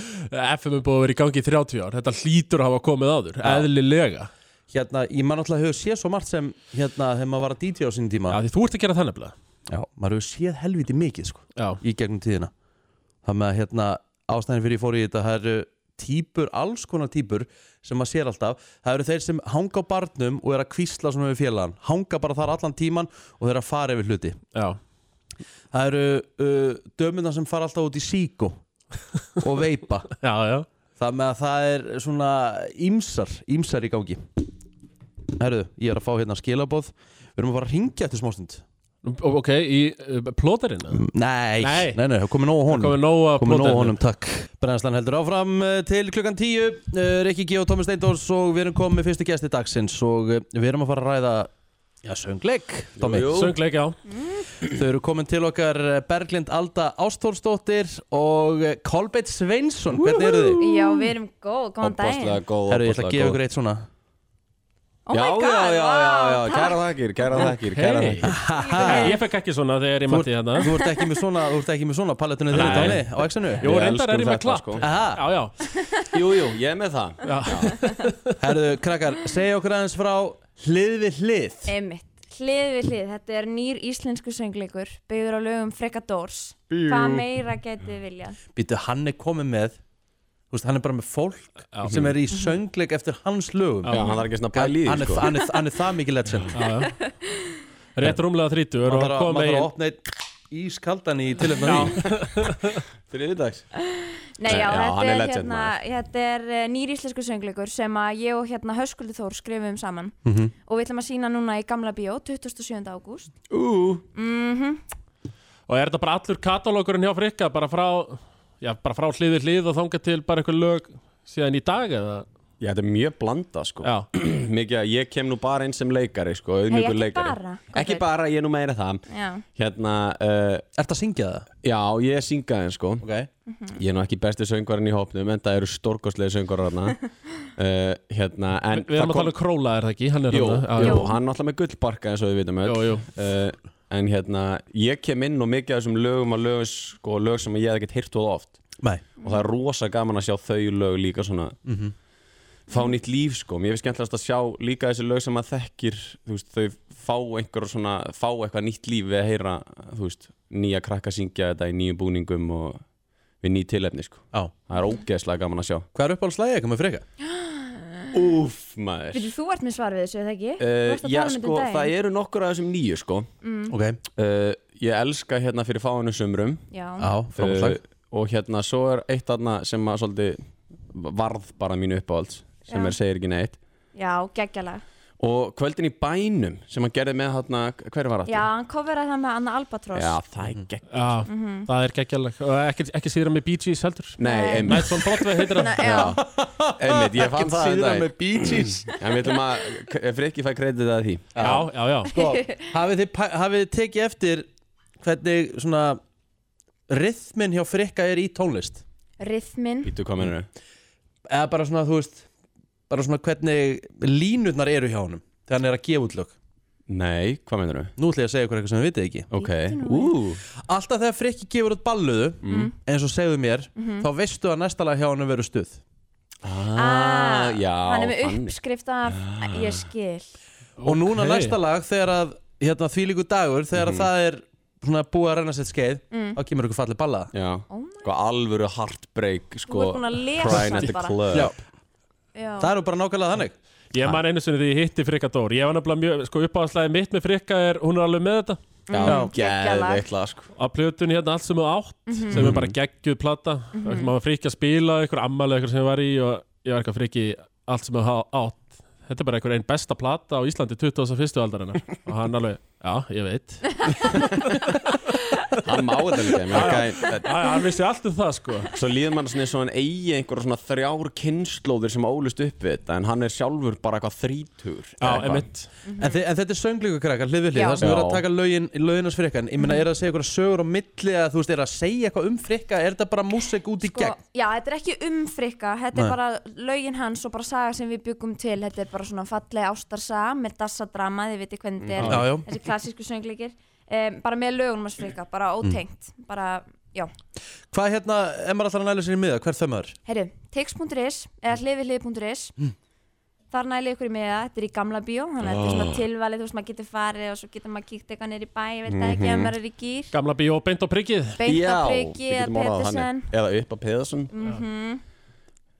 B: FM er búið að vera í gangi í 30 ár Þetta hlýtur að hafa komið áður, eðlilega
A: hérna, ég man alltaf hefur séð svo margt sem, hérna, þegar maður var að DJ á sinni tíma.
B: Já, því þú ert að gera það nefnilega
A: Já, maður hefur séð helviti mikið sko,
B: Já,
A: í gegnum tíðina Það með að hérna, ástæðin fyrir ég fór í þetta það eru típur, alls konar típur sem maður sér alltaf Það eru þeir sem hanga á barnum og er að kvísla svona við félagann hanga bara þar allan tíman og þeir að fara yfir hluti
B: já,
A: Það eru uh, dömuna sem fara alltaf út í síku og veipa
B: já, já
A: Það með að það er svona ímsar, ímsar í gangi Herðu, ég er að fá hérna skilaboð Við erum að fara að ringja eftir smástund
B: Nú, Ok, í uh, plóterinu
A: Nei,
B: Nei.
A: nei, nei, það er komið nóg á honum
B: Komið nóg að
A: komið nóg honum,
B: plóterinu
A: takk Brennslan heldur áfram eh, til klukkan 10 Eh, Rikki G og Tómi Steindors og við erum komið með fyrstu gæsti dagsins og eh, við erum að fara að ræða Já, söngleik, Tómi
B: Söngleik, já
A: Þau eru komin til okkar eh, Berglind Alda Ástórsdóttir og eh, Kolbeinn Sveinsson Hvernig eru þið?
E: Já, við erum góð, góðan daginn
F: góð
A: Herru, ég ætla að gefa ykkur eitt svona
E: Oh
F: Já,
E: my god,
F: já, já, já, já,
E: vá,
F: kæra þakkir, kæra þakkir, kæra
B: Hey.
F: þakkir
B: Ég fekk ekki svona þegar ég
A: Þú,
B: mætti hérna
A: ert- þú ert ekki með svona, þú ert ekki með svona palettunni þinni,
B: Nei.
A: Tómi, á X-inu
B: Jú,
F: Við
B: reyndar er
F: elskum
B: ég með
F: þetta,
B: klapp
F: sko.
A: Aha,
B: Já, já,
F: Jú, jú, ég er með það
A: herru, krakkar, segja okkur aðeins frá hlið við hlið
E: Einmitt, hlið við hlið, þetta er nýr íslensku söngleikur byggður á lögum Frekadors Hvað meira getið þið viljað?
A: býtu hann er komið með þú veist, hann er bara með fólk sem er í söngleik eftir hans lögum
F: Já, hann þarf ekki svona
A: hann,
F: pæli í
A: hann,
F: því,
A: er,
F: sko
A: hann, er, hann er það mikið legend hann
B: rétt rúmlega 30 og
A: þarf að,
B: koma
A: maður þarf
B: í
A: að opna einn ískaldan í tilöfna því
F: Þriðdags
E: Nei, já,
F: Já, hann
E: þetta,
F: er
E: er,
F: legend,
E: hérna, þetta er eh, nýr íslensku söngleikur sem að ég og hérna Höskuldur Þór skrifum saman
F: Hm.
B: Mhm.
E: og við ætlum að sína núna í Gamla Bíó 27. ágúst Mhm.
B: Og er þetta bara allur katalógurinn hjá frikka bara frá, já, bara frá hlið við hlið og þangað til bara eitthvað lög síðan í dag eða?
F: Já, þetta er mjög blanda, sko
B: Já,
F: Mikið að ég kem nú bara inn sem leikari, sko
E: Hei,
F: auðmjúkur
E: ekki
F: leikari
E: bara
F: Ekki
E: Kolbeinn.
F: bara, ég er nú meira það
E: Já,
F: Hérna, uh,
A: ert að syngja það?
F: já, ég er syngaðin, sko
A: Okay.
F: Ég er nú ekki besti söngvarinn í hópnum En það eru stórkostlega söngvarar hana uh, Hérna, en
B: við erum að tala um Króla er það ekki, hann er
F: Jú,
B: þarna.
F: jú,
B: já,
F: hann er náttúrulega með gullbarka eins og við vitum öll
B: Jú, jú.
F: Eh, En hérna, ég kem inn og mikið af þessum lögum að lög, sko, lög sem ég hef ekkert hýrt og oft
A: nei, Mhm.
F: og það er rosa gaman að sjá þau lög líka svona fá nýtt líf sko, mér finnst skemmtilegast að sjá líka þessi lög sem maður þekkir þú veist, þau fá einhver svona, fá eitthvað nýtt líf við að heyra, þú veist nýja krakka syngja þetta í nýjum búningum og við ný tilefni sko
A: á
F: það er ógeðslega gaman að sjá
A: hvað er uppáhaldslægi ekki með freka?
F: Úf maður
E: Veitir, þú ert með svar við þessu, eða ekki? Þú
F: uh,
E: varst að
F: Já
E: tala um þetta
F: sko,
E: um daginn. Mm.
F: það eru nokkur af þessum nýju sko
A: ok,
F: uh, ég elska hérna fyrir fáinu sumrum
E: Já,
A: á, framhaldslæg
F: uh, og hérna svo er eitt aðna sem að svolítið varð bara mínu uppáhalds sem
E: Já.
F: er segir ekki neitt
E: já geggjala
F: og kvöldin í bænum sem hann gerði með hérna, hver var
E: Já,
F: þetta?
E: hann coveraði það með Anna Albatross
F: Já, það er gegn
B: Mhm. Já,
E: Mhm.
B: það er geggjalleg og ekki, ekki síðra með Bee Gees heldur
F: Nei, einmitt,
B: Nightfall Broadway heitir
E: Nei,
B: það
E: já.
F: einmitt, ég fann það
A: síðra
F: en
A: með Bee Gees
F: en við ætlum að, ef Rikki fæ kredið að því
B: Já, já, já
A: sko, hafið þið, pæ- hafið þið tekið eftir hvernig svona rithmin hjá freka er í tónlist
E: Rithmin
F: Ítu kominu
A: eða bara svona, þú veist bara svona hvernig línurnar eru hjá honum þegar hann er að gefa út lög
F: Nei, hvað meinur þau?
A: nú ætlum ég að segja ykkur eitthvað sem við vitið ekki
F: Ok, ú,
A: Alltaf þegar Frikki gefur út balluðu
E: Mm-hmm.
A: eins og segðu mér, þá veistu að næsta lag hjá hann verður stuð
F: ah, já,
E: Hann er með
F: þannig.
E: uppskrift af Ég skil
A: og núna
B: Ok.
A: næsta lag þegar að hérna, því líku dagur, þegar
F: Mhm.
A: að það er svona búið að renna sér skeið þá kemur ykkur fallið balla
F: Já,
E: Mm. Oh my
F: sko alvöru heartbreak sko,
E: ert búin að lesa
F: Crying at
E: það
F: the
E: bara.
F: club
A: Já,
E: Já,
A: það eru bara nákvæmlega þannig
B: Ég man einu sinni því ég hitti Frikka Dór Ég var nefnilega mjög, sko uppáðslæði mitt með Frikka er Hún er alveg með þetta
F: Já,
E: geggjað Mm, lag. Mhm.
F: geðveikt lag sko
B: Á plötunni hérna allt sem þú átt Sem er bara geggjuð plata mm -hmm. Má Frikki að spila, einhver ammali eitthvað sem ég var í Og ég var eitthvað Frikki allt sem þú ha- átt Þetta er bara einhver einn besta plata á Íslandi 21. aldarinnar Og hann alveg, Já, ég veit Æ,
F: Hann má þetta líka ég meina, gæ-
B: Hann vissi allt um það sko
F: Svo líður mann svona eins og hann eigi einhverja svona þrjár kynnslóðir sem ólust upp við þetta en hann er sjálfur bara eitthvað þrítur
B: Já, emitt
A: En, þi- en þetta er sönglíku krakkar, hlið við hlið,
E: Já.
A: það sem
F: Já.
A: verður að taka lögin, lögin hans frikkan Ég meina, er það að segja eitthvað sögur á milli eða þú veist, er það að segja eitthvað um frikka Er þetta bara músik út í
E: Sko,
A: gegn?
E: já, þetta er ekki um frikka, þetta
A: Nei.
E: er bara lögin hans og bara saga sem við byggum til, þetta er bara svona falleg ástarsaga með dassadrama, þið viti hvernig þetta
A: Já,
E: er,
A: já.
E: þessi klassísku söngleikir, um, bara með lögunum hans frikka, bara ótengt, bara, já.
A: Hvað hérna, ef maður alltaf næla sér í miða, hver þau maður?
E: Herru, tix.is eða hlifihlið.is Þar næli ykkur í miða, þetta er í gamla bíó þannig að þetta er svona tilvalið, þú veist, maður getur farið og svo getur maður kíkt eitthvað neyri bæ, ég veit það ekki ef maður er í gýr,
B: Gamla bíó beint á prikkið
E: beint á
F: Já,
E: priki
F: við
E: eða
F: getum orðað það
E: Petersen
F: þannig. Eða upp að Pedersen
E: Mhm.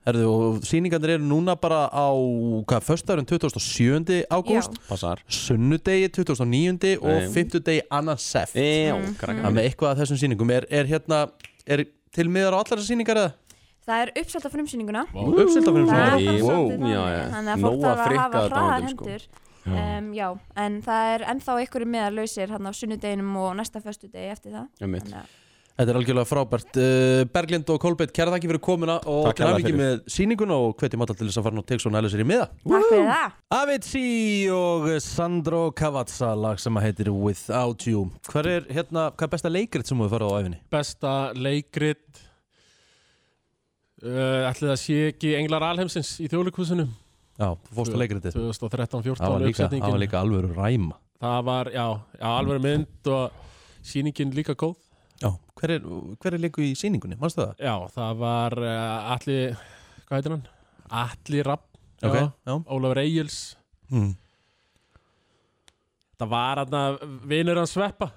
A: Herðu, og sýningarnir eru núna bara á, hvað, föstaðurinn 27. ágúst
F: Passar
A: Sunnudegi 2009. og
F: Nei.
A: fimmtudegi annan seft
F: Já,
E: Mm.
F: krakkar.
A: Þannig að eitthvað af þessum sýningum er, er hérna, er til miðar á allar þessar sýningar eða?
E: Það er uppselt á frumsýninguna
A: Uppselt af fyrir
E: Það er
F: Í-
E: bara svolítið
F: Wow.
E: þannig,
F: Já, já.
E: þannig
F: Nóg
E: að fólk
F: að
E: þarf að
F: frikka
E: hafa
F: þetta á
E: hraðar
F: höndum, sko.
E: hendur um, Já, en það er ennþá ykkur í miða lausir hann á sunnudeginum og næsta föstudegi eftir það
F: Einmitt.
E: Þannig að-
A: Þetta er algjörlega frábært. Uh, Berglind og Kolbeitt, kæra þakki fyrir komuna og
F: Takk
A: til
F: kærlega
A: hafingi með sýninguna og hvetjum alltaf til þess að fara nú tegst svona aðlega sér í miða.
E: Takk fyrir það
A: Avicii og Sandro Cavazza lag sem að heitir Without You. Hvað er, hérna, hvað er besta leikrit sem þú hefur farið á æfinni?
B: Besta leikrit uh, Ætli það sé ekki Englar Alheimsins í þjóðleikúsinu
A: Já, þú fórst á leikritið. Það
B: 2013-14
A: var líka, það var
B: uppsetningin
A: líka alveg ræma.
B: Það var, já, já alveg mynd og sýningin líka góð
A: Já, hver er, hver er leiku í sýningunni, mannstu það?
B: Já, það var uh, Alli, hvað heitir hann? Alli Rapp
A: Ok,
B: já,
A: já.
B: Ólafur Egils
A: Mm.
B: Það var hann vinur hans sveppa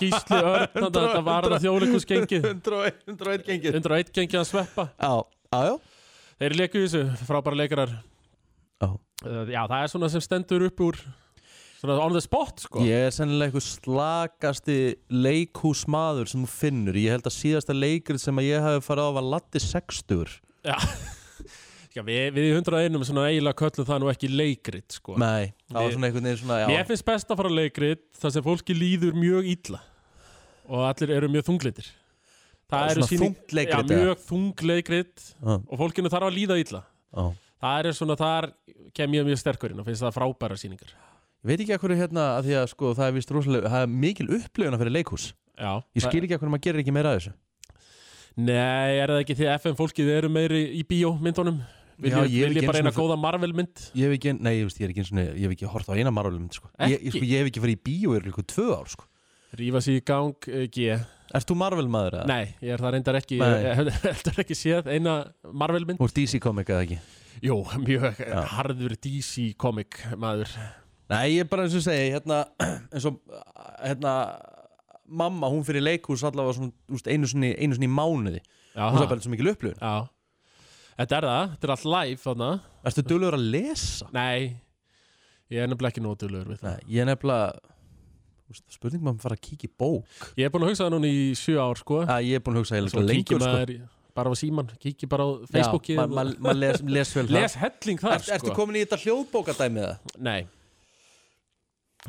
B: Gísli Örn þarna, Þetta var hann þjóðleikusgengið
A: 101 gengið.
B: 101 gengið hans sveppa
A: Já, já, já.
B: Þeir leiku í þessu, frábæra leikarar
A: Já.
B: Eh, Já, það er svona sem stendur upp úr Svona on the spot, sko
A: Ég er sennilega einhver slakasti leikhúsmaður sem þú finnur. Ég held að síðasta leikrið sem að ég hafi farið á var Latti 60.
B: Já, já við, við í 101 svona eiginlega köllum það nú ekki leikrit, sko
A: Nei, það var
B: Við-
A: svona einhvern veginn svona,
B: Mér
A: já.
B: finnst best að fara á leikrit þar sem fólki líður mjög illa og allir eru mjög þunglindir
A: Já,
B: Það eru
A: svona þungt leikrit,
B: Já,
A: eða?
B: mjög þung leikrit
A: Já.
B: og fólkinu þarf að líða illa
A: Já.
B: Það eru svona, þar kem ég mjög sterkurinn og finnst það frábæra sýningar
A: Ég veit ekki að hverju hérna, að því að sko, það er vist rosalega, það er mikil upplifuna fyrir leikhús.
B: Já,
A: Ég skil ekki að hverju maður gerir ekki meira af þessu.
B: Nei, er það ekki því að FM fólkið eru meiri í bíómyndunum Vil
A: Já,
B: ég,
A: ég er ekki
B: vil ég bara
A: einu
B: eina
A: sinni-
B: góða Marvel mynd
A: Ég hef ekki, nei, ég veist, ég er ekki eins og ég hef ekki hort á eina marulum, sko. Ég, ég, sko,
B: Ekki?
A: ég hef ekki farið í bíó yfir ykkur tvö ár, sko.
B: Rífa sig í gang, eh, G
A: Ert þú Marvel maður eða?
B: Nei, ég er það reyndar ekki eh,
A: Nei.
B: Ég hef heldur ekki séð eina Marvel mynd
A: Þú ert DC komik eða ekki?
B: Jú, mjög harður DC komik maður
A: Nei, ég er bara eins og segi, hérna, eins og, hérna, mamma, hún fyrir leikhús allavega svona, þú veist, einu sinni, einu sinni í mánuði.
B: Já,
A: Hún sagði bara svo mikil upplifun.
B: Já Þetta er það, þetta er allt live þarna
A: Ertu dölur að lesa?
B: Nei, ég er nefnilega ekki nótulur við það
A: Nei, ég er nefnilega, þú veist, spurning maður fara að kíkja í bók.
B: Ég er búin að hugsa það núna í sjö ár sko
A: Að ég er búin að hugsa
B: Svo
A: eiginlega
B: kíkir
A: lengur, sko.
B: maður í- bara á síman, kíkir bara á Facebooki
A: maður ma, ma les, les vel
B: Les helling
A: það
B: þar
A: er, Ertu
B: sko
A: komin í þetta hljóðbókadæmið það?
B: Nei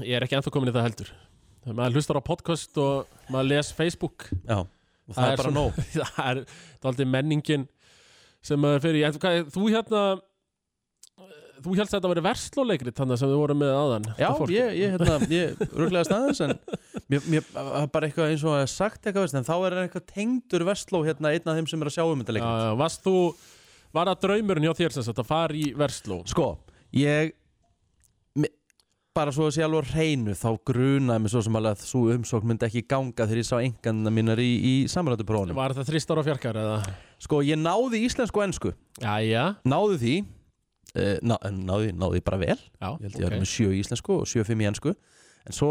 B: Ég er ekki ennþá komin í það heldur Maður hlustar á podcast og maður les Facebook
A: Já, og það, er bara nóg
B: Það er aldrei menningin sem maður fyrir ég, hvað, Þú hérna Þú helst að þetta verið verslóleikrit þannig sem þið voru með aðan
A: Já,
B: þetta fólk.
A: ég, ég, hérna, ég röglega staðins en mér, mér það er bara eitthvað eins og að hafa sagt eitthvað veist, en þá er eitthvað tengdur vestló hérna einn af þeim sem er að sjá um þetta
B: Já,
A: leikur
B: já, varst þú, var það draumurinn hjá þér sem sagt að fara í versló?
A: Sko, ég mi- bara svo að sé alveg á hreinu þá grunaði mig svo sem alveg að svo umsókn myndi ekki ganga þegar ég sá enganna mínar í, í samrættuprófnum
B: Var það þristar og fjarkar eða?
A: Sko, ég náði íslensku og ensku
B: Jæja,
A: náði því uh, ná, en náði, náði bara vel ég
B: já,
A: held ég okay. var með sjö í íslensku og sjö fimm í ensku en svo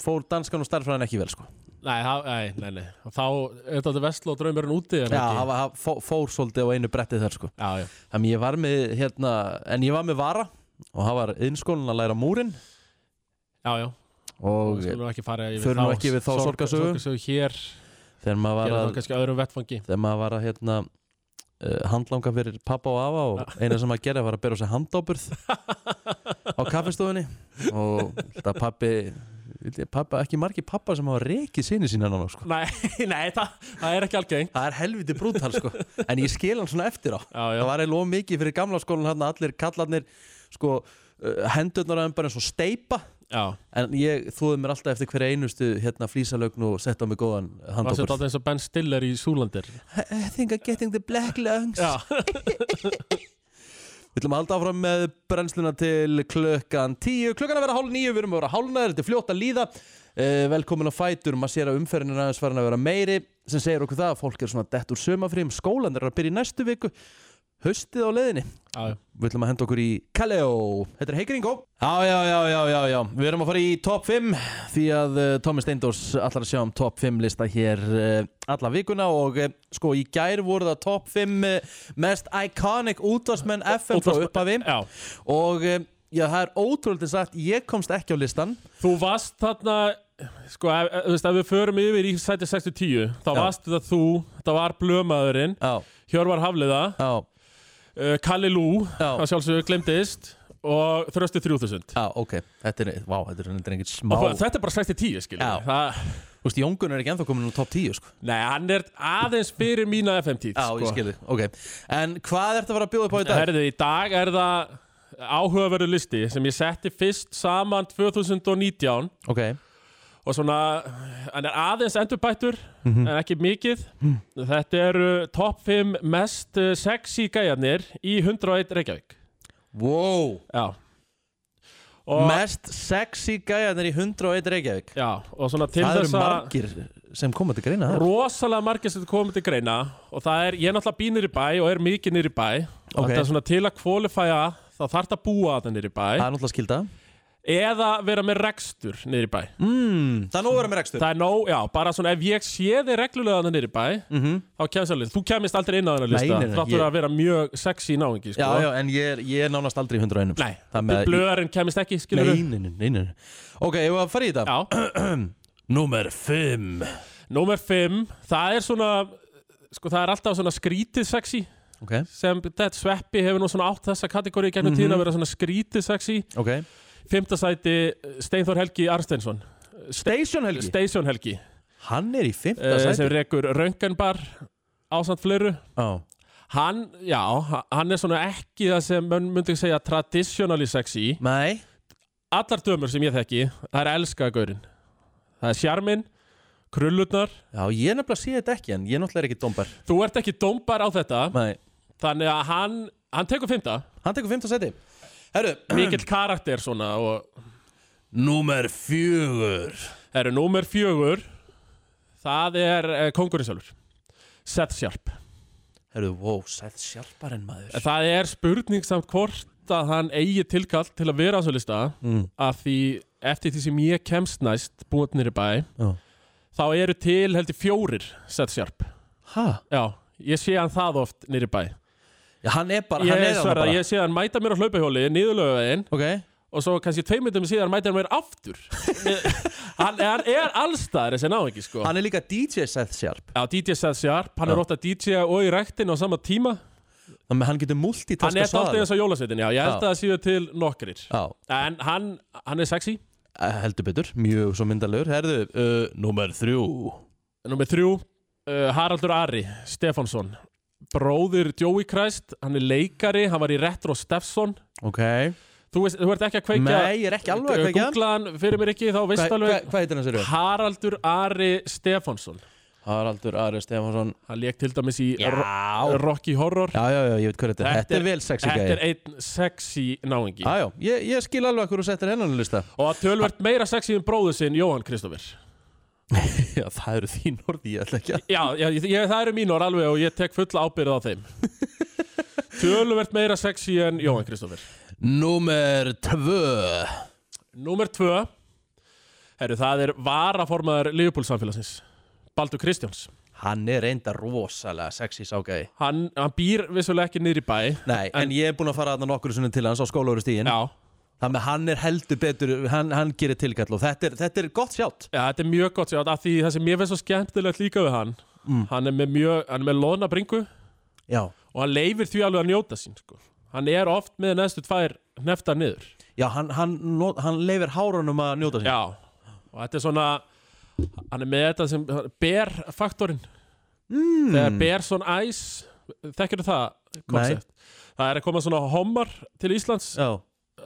A: fór danskan og starfræðin ekki vel sko.
B: Nei, það- nei, nei, nei, og þá er þetta versló draumurinn úti
A: já,
B: eða
A: það
B: ekki?
A: var- það fó, fór svolítið á einu brettið þar sko.
B: Já, já,
A: þannig ég var með hérna, en ég var með vara og það var innskólan að læra múrin
B: já, já,
A: og
B: við skulum ekki fara yfir
A: Förum nú ekki yfir þá sorgarsögu.
B: Sorgarsögu hér,
A: þegar maður var
B: gera þá
A: að,
B: kannski á öðrum vettfangi
A: þegar maður var að hérna, eh, uh, handlanga fyrir pappa og afa og eina sem maður gerði var að bera á sig handáburð á kaffestofunni og þetta pappi vildi pappa, ekki margir pappa sem hafa rekið sinni sína nána sko.
B: Nei, nei, það, það er ekki algengt
A: það er helviti brútal sko. en ég skil hann svona eftir á
B: Já, já.
A: það var eiginlega of mikið fyrir gamla skólan hann allir kallarnir sko, uh, hendurnar aðeins bara eins og steipa
B: Já,
A: en ég þóði mér alltaf eftir hverja einustu hérna flísalögn og sett á mig góðan
B: það sé
A: handópar
B: alltaf eins og Ben Stiller í Súlandir
A: I think I'm getting the black lungs
B: Já,
A: Við ætlum að halda áfram með brennsluna til klukkan 10 Klukkan er að vera hálf nýju, við erum að vera hálfnaður, þetta er fljótt að líða eh, Velkomin á Fætur, maður sér að umferðin er aðeins farin að vera meiri sem segir okkur það að fólk er svona dett úr sömafrým skólan er að byrja í næstu viku haustið á leiðinni
B: já,
A: Við ætlum að henda okkur í Kaleo Þetta er Heikringó Já, já, já, já, já, já Við erum að fara í top 5 því að uh, Tómi Steindors allar að sjá um top 5 lista hér uh, alla vikuna og uh, sko í gær voru það top 5 uh, mest iconic útvarsmenn FM frá
B: Útvarps-
A: upphafi
B: já.
A: og uh, já, það er ótrúlega sagt ég komst ekki á listan
B: Þú varst þarna Sko, ef, ef, þú veist, ef við förum yfir í sæti 6-10 Þá
A: Já.
B: varst þetta þú, það var blömaðurinn
A: Já,
B: Hjörvar Hafliða,
A: já,
B: uh, Kalli Lú
A: Já.
B: Það sjálfsögur glemdist Og Þrösti 3000
A: já, ok Þetta er, vá, þetta er, þetta er engin smá
B: Og Þetta er bara 6-10
A: Já.
B: skilur Það,
A: Þú veist, Jóngun er ekki ennþá komin úr top 10 sko
B: Nei, hann er aðeins fyrir mína FM-tíð
A: Já, ég skil þig, ok En hvað ertu að fara að bjóða upp á í dag?
B: sko. Herðu, í dag er það áhugaverðu listi sem ég setti fyrst saman 2019
A: Ok,
B: og svona, hann er aðeins endurbættur
A: Mhm.
B: en ekki mikið
A: Mm.
B: þetta eru topp 5 mest uh, sexy gæjarnir í 101 Reykjavík
A: wow
B: já og,
A: Mest sexy gæjarnir í 101 Reykjavík
B: já, og svona til
A: Það eru
B: þess að
A: margir sem koma til greina þar
B: rosalega margir sem komið til greina og það er, ég er náttúrulega býnir í bæ og er mikið nýr í bæ og
A: Ok.
B: þetta er svona til að kvalifæja þá þarf þetta að búa þetta nýr í bæ
A: Það er náttúrulega skilda
B: eða vera með rekstur nýr í bæ Hmm,
A: mm, Það er nú að vera með rekstur
B: Það er nóg, já, bara svona ef ég sé þig reglulega þannig niður í bæ
A: Mhm.
B: þá kemst það list, þú kemist aldrei inn á þennan
A: Nei,
B: lista
A: nei, nei,
B: þáttur
A: ég-
B: að vera mjög sexy náingi sko.
A: Já, já, en ég er, ég er nánast aldrei í 101
B: Nei,
A: það með
B: blöðarinn kemist ekki, skilur
A: Nei, nei, nei, nei, nei. Ok, ég var að fara í þetta
B: Já,
A: Númer 5
B: númer 5 það er svona, sko það er alltaf svona skrítið sexy
A: Ok,
B: sem þetta sveppi hefur nú svona átt þessa kategóri í
A: Mhm.
B: gegnum tíðin að vera svona skrítið sexy
A: ok
B: Fymta sæti eh, Steinþór Helgi Arsteinsson
A: Station Helgi
B: Station Helgi,
A: Hann er í 5.
B: uh, sem
A: sæti
B: rekur Rönganbar ásamt fleiru
A: Já,
B: Hann, já, ha- hann er svona ekki það sem mun myndi segja traditionally sexy
A: Nei,
B: Allar dömur sem ég þekki, það er elska gaurinn Það er sjarminn, krullutnar
A: já, ég er nefnilega að sé þetta ekki en ég er náttúrulega ekki dombar
B: Þú ert ekki dómbar á þetta
A: Nei,
B: Þannig að hann, hann tekur fymta
A: hann tekur 5. sæti Herru,
B: Mikill karakter svona og
A: Númer 4
B: Það eru númer fjögur Það er eh, kongurinn sjálfur Seth Sharp
A: Herru, wow, sæð sjálparinn maður
B: Það er spurning samt hvort að hann eigi tilkall til að vera á svo lista
A: mm.
B: að því eftir því sem ég kemst næst búið nýri bæ
A: Já.
B: þá eru til heldur fjórir Seth Sharp
A: Hæ?
B: já, ég sé hann það oft nýri bæ
A: Já, hann er bara, hann er
B: ég,
A: þarna
B: svara,
A: bara
B: ég sé hann mæta mér á hlaupahjóli niðurlöfaðin
A: Ok,
B: og svo kannski tveimundum síðan mæta hann mér aftur hann, hann er allstaðar þessi náðingi sko
A: hann er líka DJ Seth Sharp
B: já, DJ Seth Sharp, hann
A: Já.
B: er ótt að DJ og í rektin á sama tíma
A: Þannig að hann getur
B: hann
A: multitaska
B: er þáttið eins og jólasveitin, já, ég held
A: Já.
B: að það séu til nokkrir
A: Já,
B: en hann, hann er sexy
A: eh, heldur betur, mjög svo myndalegur Herðu, uh, númer þrjú
B: Númer þrjú, uh, Haraldur Ari Stefánsson Bróðir Joey Christ, hann er leikari, hann var í Retro Steffson
A: Ok
B: Þú, veist, þú ert ekki að kveikja
A: Nei, ég er ekki alveg að kveikja.
B: Googla hann fyrir mér ekki, þá
A: Hva-
B: veist
A: hva- Hvað
B: alveg
A: heitir hann sér?
B: Haraldur Ari Stefánsson
A: Haraldur Ari Stefánsson
B: Hann leik til dæmis í
A: Já.
B: Ro- Rocky Horror
A: Já, já, já, ég veit hvað þetta er Þetta er vel sexy
B: Þetta er
A: gæði
B: einn sexy náingi
A: Já, já, ég, ég skil alveg að hverju settir hennan í lista
B: Og tölvert meira sexy en bróður sinn Jóhann Kristoffer
A: Já, það eru þín orði, ég ætla ekki að
B: Já, já ég, ég, það eru mínor alveg og ég tek fulla ábyrð á þeim Tölvert meira sexy en Jóhann Kristoffer
A: Númer tvö
B: Númer tvö Herru, það er varaformaður Liverpool samfélagsins Baldur Kristjáns
A: Hann er reynda rosalega sexy ságæði
B: Hann, hann býr vissulega ekki niður í bæ
A: Nei, en, ég er búin að fara að það nokkur sinni til hans á skólaurustígin
B: Já,
A: Þannig að hann er heldur betur, hann, hann gerir tilkall og þetta er, þetta er gott sjátt.
B: já, þetta er mjög gott sjátt af því það sem mér finnst svo skemmtilegt líka við hann
A: Mm.
B: hann er með mjög, hann er með loðna bringu
A: Já.
B: og hann leifir því alveg að njóta sín sko. hann er oft með næstu tvær hneftar niður
A: Já, hann, hann, not, hann leifir hárunum að njóta sín
B: Já, og þetta er svona hann er með þetta sem ber faktorinn mm. þegar ber svona æs þekkir það koncept það er að koma svona homar til Íslands
A: já,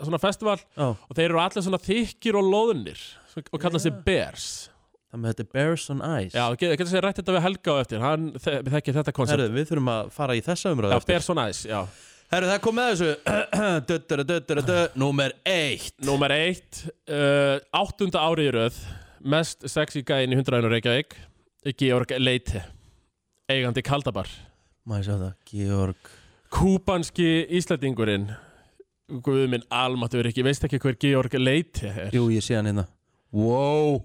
B: svona festival
A: já.
B: og þeir eru allir svona þykkir og loðunir og kalla sig bers
A: Það með þetta er Bears on Ice
B: Já, getur get sér rætt þetta við Helga og eftir hann þe þekkir þetta koncept
A: Herðu, við þurfum að fara í þessa umræðu
B: Já,
A: eftir.
B: bers og næs, já
A: Herru, það kom með þessu Döttara, döttara, dö Númer eitt
B: Númer eitt, uh, áttunda árið í röð, mest sexy gæinn í 100 hundraðinu Reykjavík, Georg Leite, eigandi Kaldabar.
A: Má ég sjá það, Georg
B: Kúbanski Íslandingurinn, Guðminn Almatur ekki, veist ekki hver Georg Leite er.
A: Jú, ég sé hann hérna Wow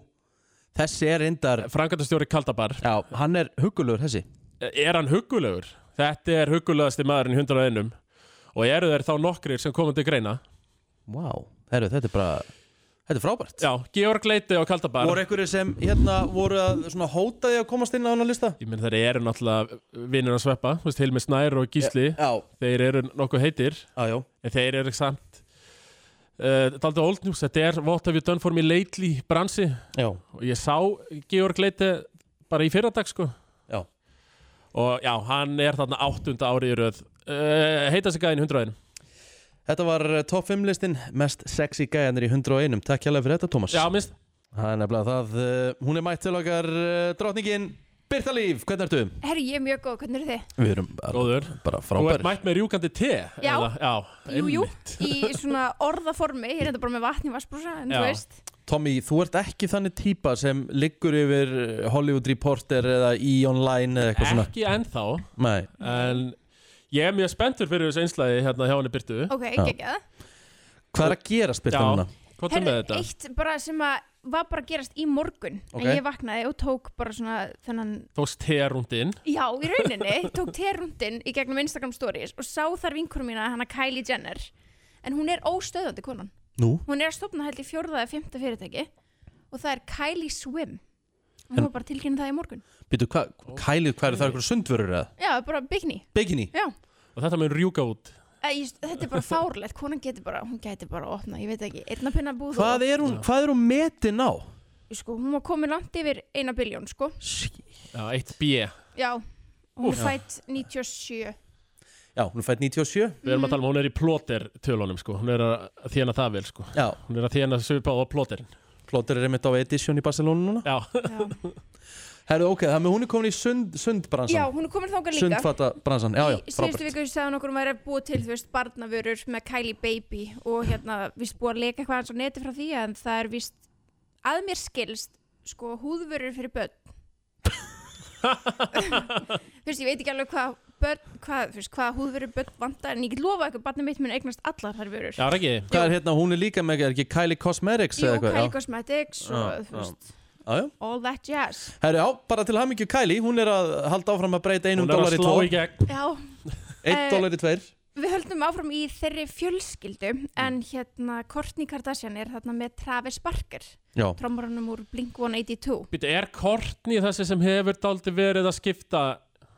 A: Þessi er reyndar
B: Frankandastjóri Kaldabar, E,
A: Já, hann er hugulegur þessi
B: er hann hugulegur? Þetta er hugulegasti maðurinn í 100 hundraðinum og eru þeir þá nokkrir sem komandi greina.
A: Wow Herru, þetta er bara Þetta er frábært
B: Já, Georg Leite og Kaldabar.
A: Voru einhverju sem hérna voru að svona hóta því að komast inn á hann lista?
B: Ég menn þeir eru náttúrulega vinnir að sveppa, þú veist, Hilmi Snær og Gísli,
A: Já,
B: þeir eru nokkuð heitir.
A: já, já
B: En þeir eru samt uh, Daldi old news, þetta er What have you done for me lately bransi
A: Já,
B: og ég sá Georg Leite bara í fyrradag sko
A: já
B: og já, hann er þarna áttunda árið í röð uh, heita sig gæðin hundraðin
A: Þetta var eh, top 5 listin Mest sexy gæjanir í 101 Takk hérlega fyrir þetta, Thomas
B: Já, minnst,
A: Það er nefnilega það eh, Hún er mætt til okkar eh, drottningin Birta Líf, hvernig ertu?
E: Herru, ég er mjög góð, hvernig eru þið?
A: Við erum bara,
B: góður
A: bara
B: Þú ert
A: frábæri
B: mætt með rjúkandi te
G: Já.
B: eða, já
G: Jú, jú,
B: einmitt.
G: í svona orðaformi, ég er þetta bara með vatn í vassbrúsa, en
B: Já.
G: þú veist,
A: Tommy, þú ert ekki þannig típa sem liggur yfir eh, Hollywood Reporter eða í online eða eitthvað svona
B: Ekki ennþá
A: Nei,
B: En ég er mjög spenntur fyrir þessu einslæði hérna hjá henni Byrtu
G: ok,
A: Já.
G: geggjað.
A: hvað er að gerast Birta
B: Já.
A: núna?
B: Hvað er með
G: Herðu,
B: þetta?
G: eitt bara sem að var bara að gerast í morgun,
A: Ok.
G: en ég vaknaði og tók bara svona þennan,
B: Tókst te rúndin
G: já, í rauninni, tók terrundin í gegnum Instagram stories og sá þar vinkurum mína, hana Kylie Jenner, en hún er óstöðandi konan.
A: Nú?
G: Hún er að stopna held í fjórða eða fymta fyrirtæki og það er Kylie Swim. Hún var bara tilkynnið það í morgun.
A: Býtu, hva, Kælið, hvað eru það eitthvað sundvörur eða?
G: Já, bara bygni,
A: Bikini?
G: já.
B: og þetta mun rjúka út
G: Æ, ég, þetta er bara fárlegt, konan getur bara, hún getur bara að opna, ég veit ekki, einna pinna búð
A: Hvað er hún, hvað er hún metin á?
G: og, sko, hún var komin langt yfir eina biljón, sko,
B: Já, eitt bjö
G: já, hún er fætt 97,
A: Já, hún er fætt 97
B: Við erum að tala um að hún er í plóter tölunum sko Hún er að þjána það vel sko
A: Já,
B: Hún er að þjána svipað á plóterinn
A: plótur er einmitt á Edition í Barcelona núna
B: Já,
G: já,
A: Herðu, ok, þannig að hún er komin í sund, sundbransan
G: já, hún er komin þangað líka,
A: Sundfata bransan, já, já,
G: í síðustu
A: frábært
G: viku sagði hún okkur um að vera að búa til, þú veist, barnavörur með Kylie Baby og hérna, vist búið að leika eitthvað hans á neti frá því, en það er vist, að mér skilst, sko, húðvörur fyrir börn, þú veist, ég veit ekki alveg hvað börn, hvað, þú veist, hvað húðvörur börn vantar, en ég get lofa eitthvað, barnið mitt mun eignast allar þar vörur.
B: já Raki
A: Hvað er hérna, hún er líka með, er ekki Kylie Cosmetics
G: Jú,
A: eða eitthvað?
G: Kylie Cosmetics
A: Já,
G: og þú
A: já.
G: veist,
A: Já, já.
G: all that jazz
A: Herru, já, bara til hamingju Kylie, hún er að halda áfram að breyta einum
B: Hún er að
A: dólar í
B: slá
A: tvo,
B: í gegn
G: Já,
A: einn
G: eh,
A: dólar í tveir.
G: við höldum áfram í þeirri fjölskyldu
B: Mm.
G: en hérna Kourtney Kardashian er þarna með Travis Barker
A: Já,
G: trommarunum úr Blink-182
B: Býtu, er Kortni þessi sem hefur daldi verið að skipta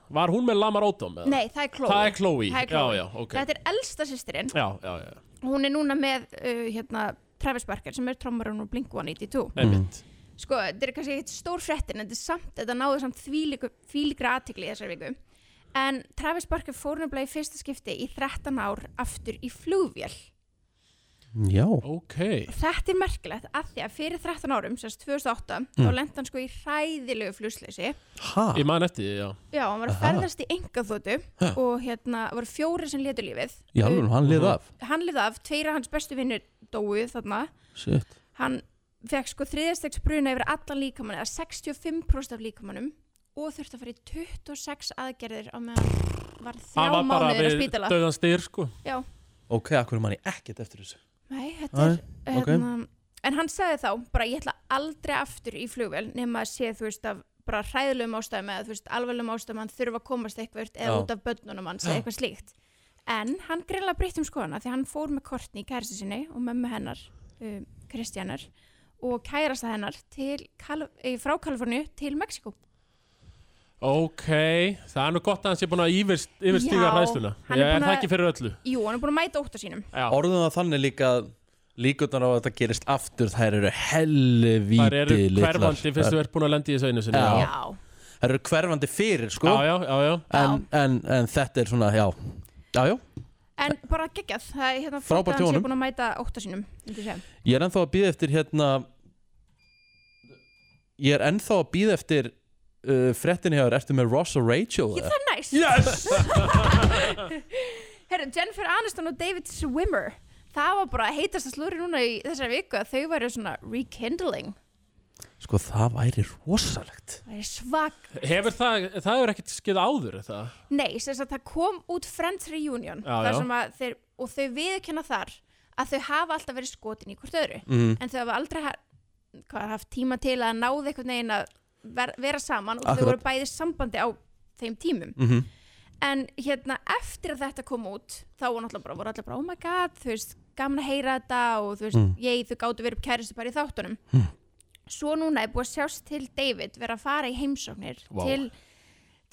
B: Var hún með Lamar Odom? eða?
G: Nei, það er Chloe,
B: Það er Chloe
G: Það er Chloe.
B: Já, já, ok
G: Þetta er elsta sýstirinn
B: Já, já, já
G: hún er núna með uh, hérna, Travis Barker sem er trommarun úr Blink-182
B: Einmitt
G: sko, þetta er kannski ekkert stór fréttin en þetta, er samt, þetta náðu samt þvílíku- þvílíkra aðtikli í þessar viku en Travis Barker fór nefnilega í fyrsta skipti í 13 ár aftur í flugvél
A: Mm, já,
B: Ok
G: þetta er merkilegt að því að fyrir 13 árum sérst 2008 þá lendi hann sko í hræðilegu flusleysi
A: ha,
B: Ég man eftir því, já
G: já, hann var að ferðast í engaþótu og hérna voru fjóri sem letu lífið
A: í alveg, hann lið af.
G: Uh, hann lifði af, tveira hans bestu vinnur dóu þarna
A: Shit.
G: hann fekk sko þriðastegs bruna yfir allan líkamann eða 65% af líkamannum og þurfti að fara í 26 aðgerðir á meðan var
B: Hann
G: þrjá
B: var bara
G: mánuðir á
B: við
G: spítala
B: döðan styr sko
G: Já,
A: Ok, akkur mann ég ekkert eftir þessu.
G: nei, þetta er
A: ok.
G: hérna, en hann sagði þá bara ég ætla aldrei aftur í flugvél nema að sé þú veist af bara hræðilegum ástæðum eða þú veist alveglegum ástæðum hann þurfa að komast eitthvað eða
A: Já.
G: út af börnunum hans eða eitthvað slíkt en hann grilla breytt um skoðana því hann fór með Kortni í kæristu sinni og mömmu hennar um, Kristjanar og kærasta hennar til, Kal eh, frá Kaliforníu til Mexiko
B: Ok Það er nú gott að hann sé búin að yfir,
G: Já,
B: yfirstiga hræðsluna
G: hann
B: Ég
G: er
B: er
G: búinn
B: það
G: að-
B: ekki fyrir öllu
G: Jú, hann er búin að mæta óttar sínum
B: Já
A: Orðum það þannig líka að líkurnar á að þetta gerist aftur þær eru helvíti
B: Það eru
A: litlar.
B: hverfandi fyrst þú ert búin að lenda í þessu einu sinni
A: Já.
B: Já,
G: Já,
A: Þær eru hverfandi fyrir sko
B: já, já, já,
A: En, en, en þetta er svona, já Já, já,
G: en bara geggjað það er hérna
A: Frábært
G: flott að
A: hjá
G: hann sé
A: honum.
G: búin að mæta ótta sínum myndi ég segja.
A: ég er ennþá að býða eftir hérna Ég er ennþá að býða eftir uh, fréttin hjá þér, ertu með Ross og Rachel
G: Ég,
A: eða?
G: það er næst yes. Herru, Jennifer Aniston og David Swimmer það var bara heitast að slúri núna í þessari viku að þau væru svona rekindling
A: Sko það væri rosalegt
G: það er svag
B: Hefur það, það hefur ekkert skeið áður er það
G: Nei, sem sagt það kom út Friends Reunion
B: Já,
G: þar
B: já.
G: sem að þeir, og þau viðurkenna þar að þau hafa alltaf verið skotin í hvort öðru
A: mm.
G: en þau hafa aldrei ha hvað, haft tíma til að náða einhvern veginn að ver vera saman og þau
A: Akkurat.
G: voru bæði sambandi á þeim tímum
A: Mm
G: en hérna eftir að þetta kom út þá var náttúrulega bara, voru allir bara oh my god þú veist, gaman að heyra þetta og þú veist,
A: Mm.
G: ég, þau gáttu verið upp kæristu bara í þáttunum svo núna er búið að sjást til David vera að fara í heimsóknir
B: Vá.
G: til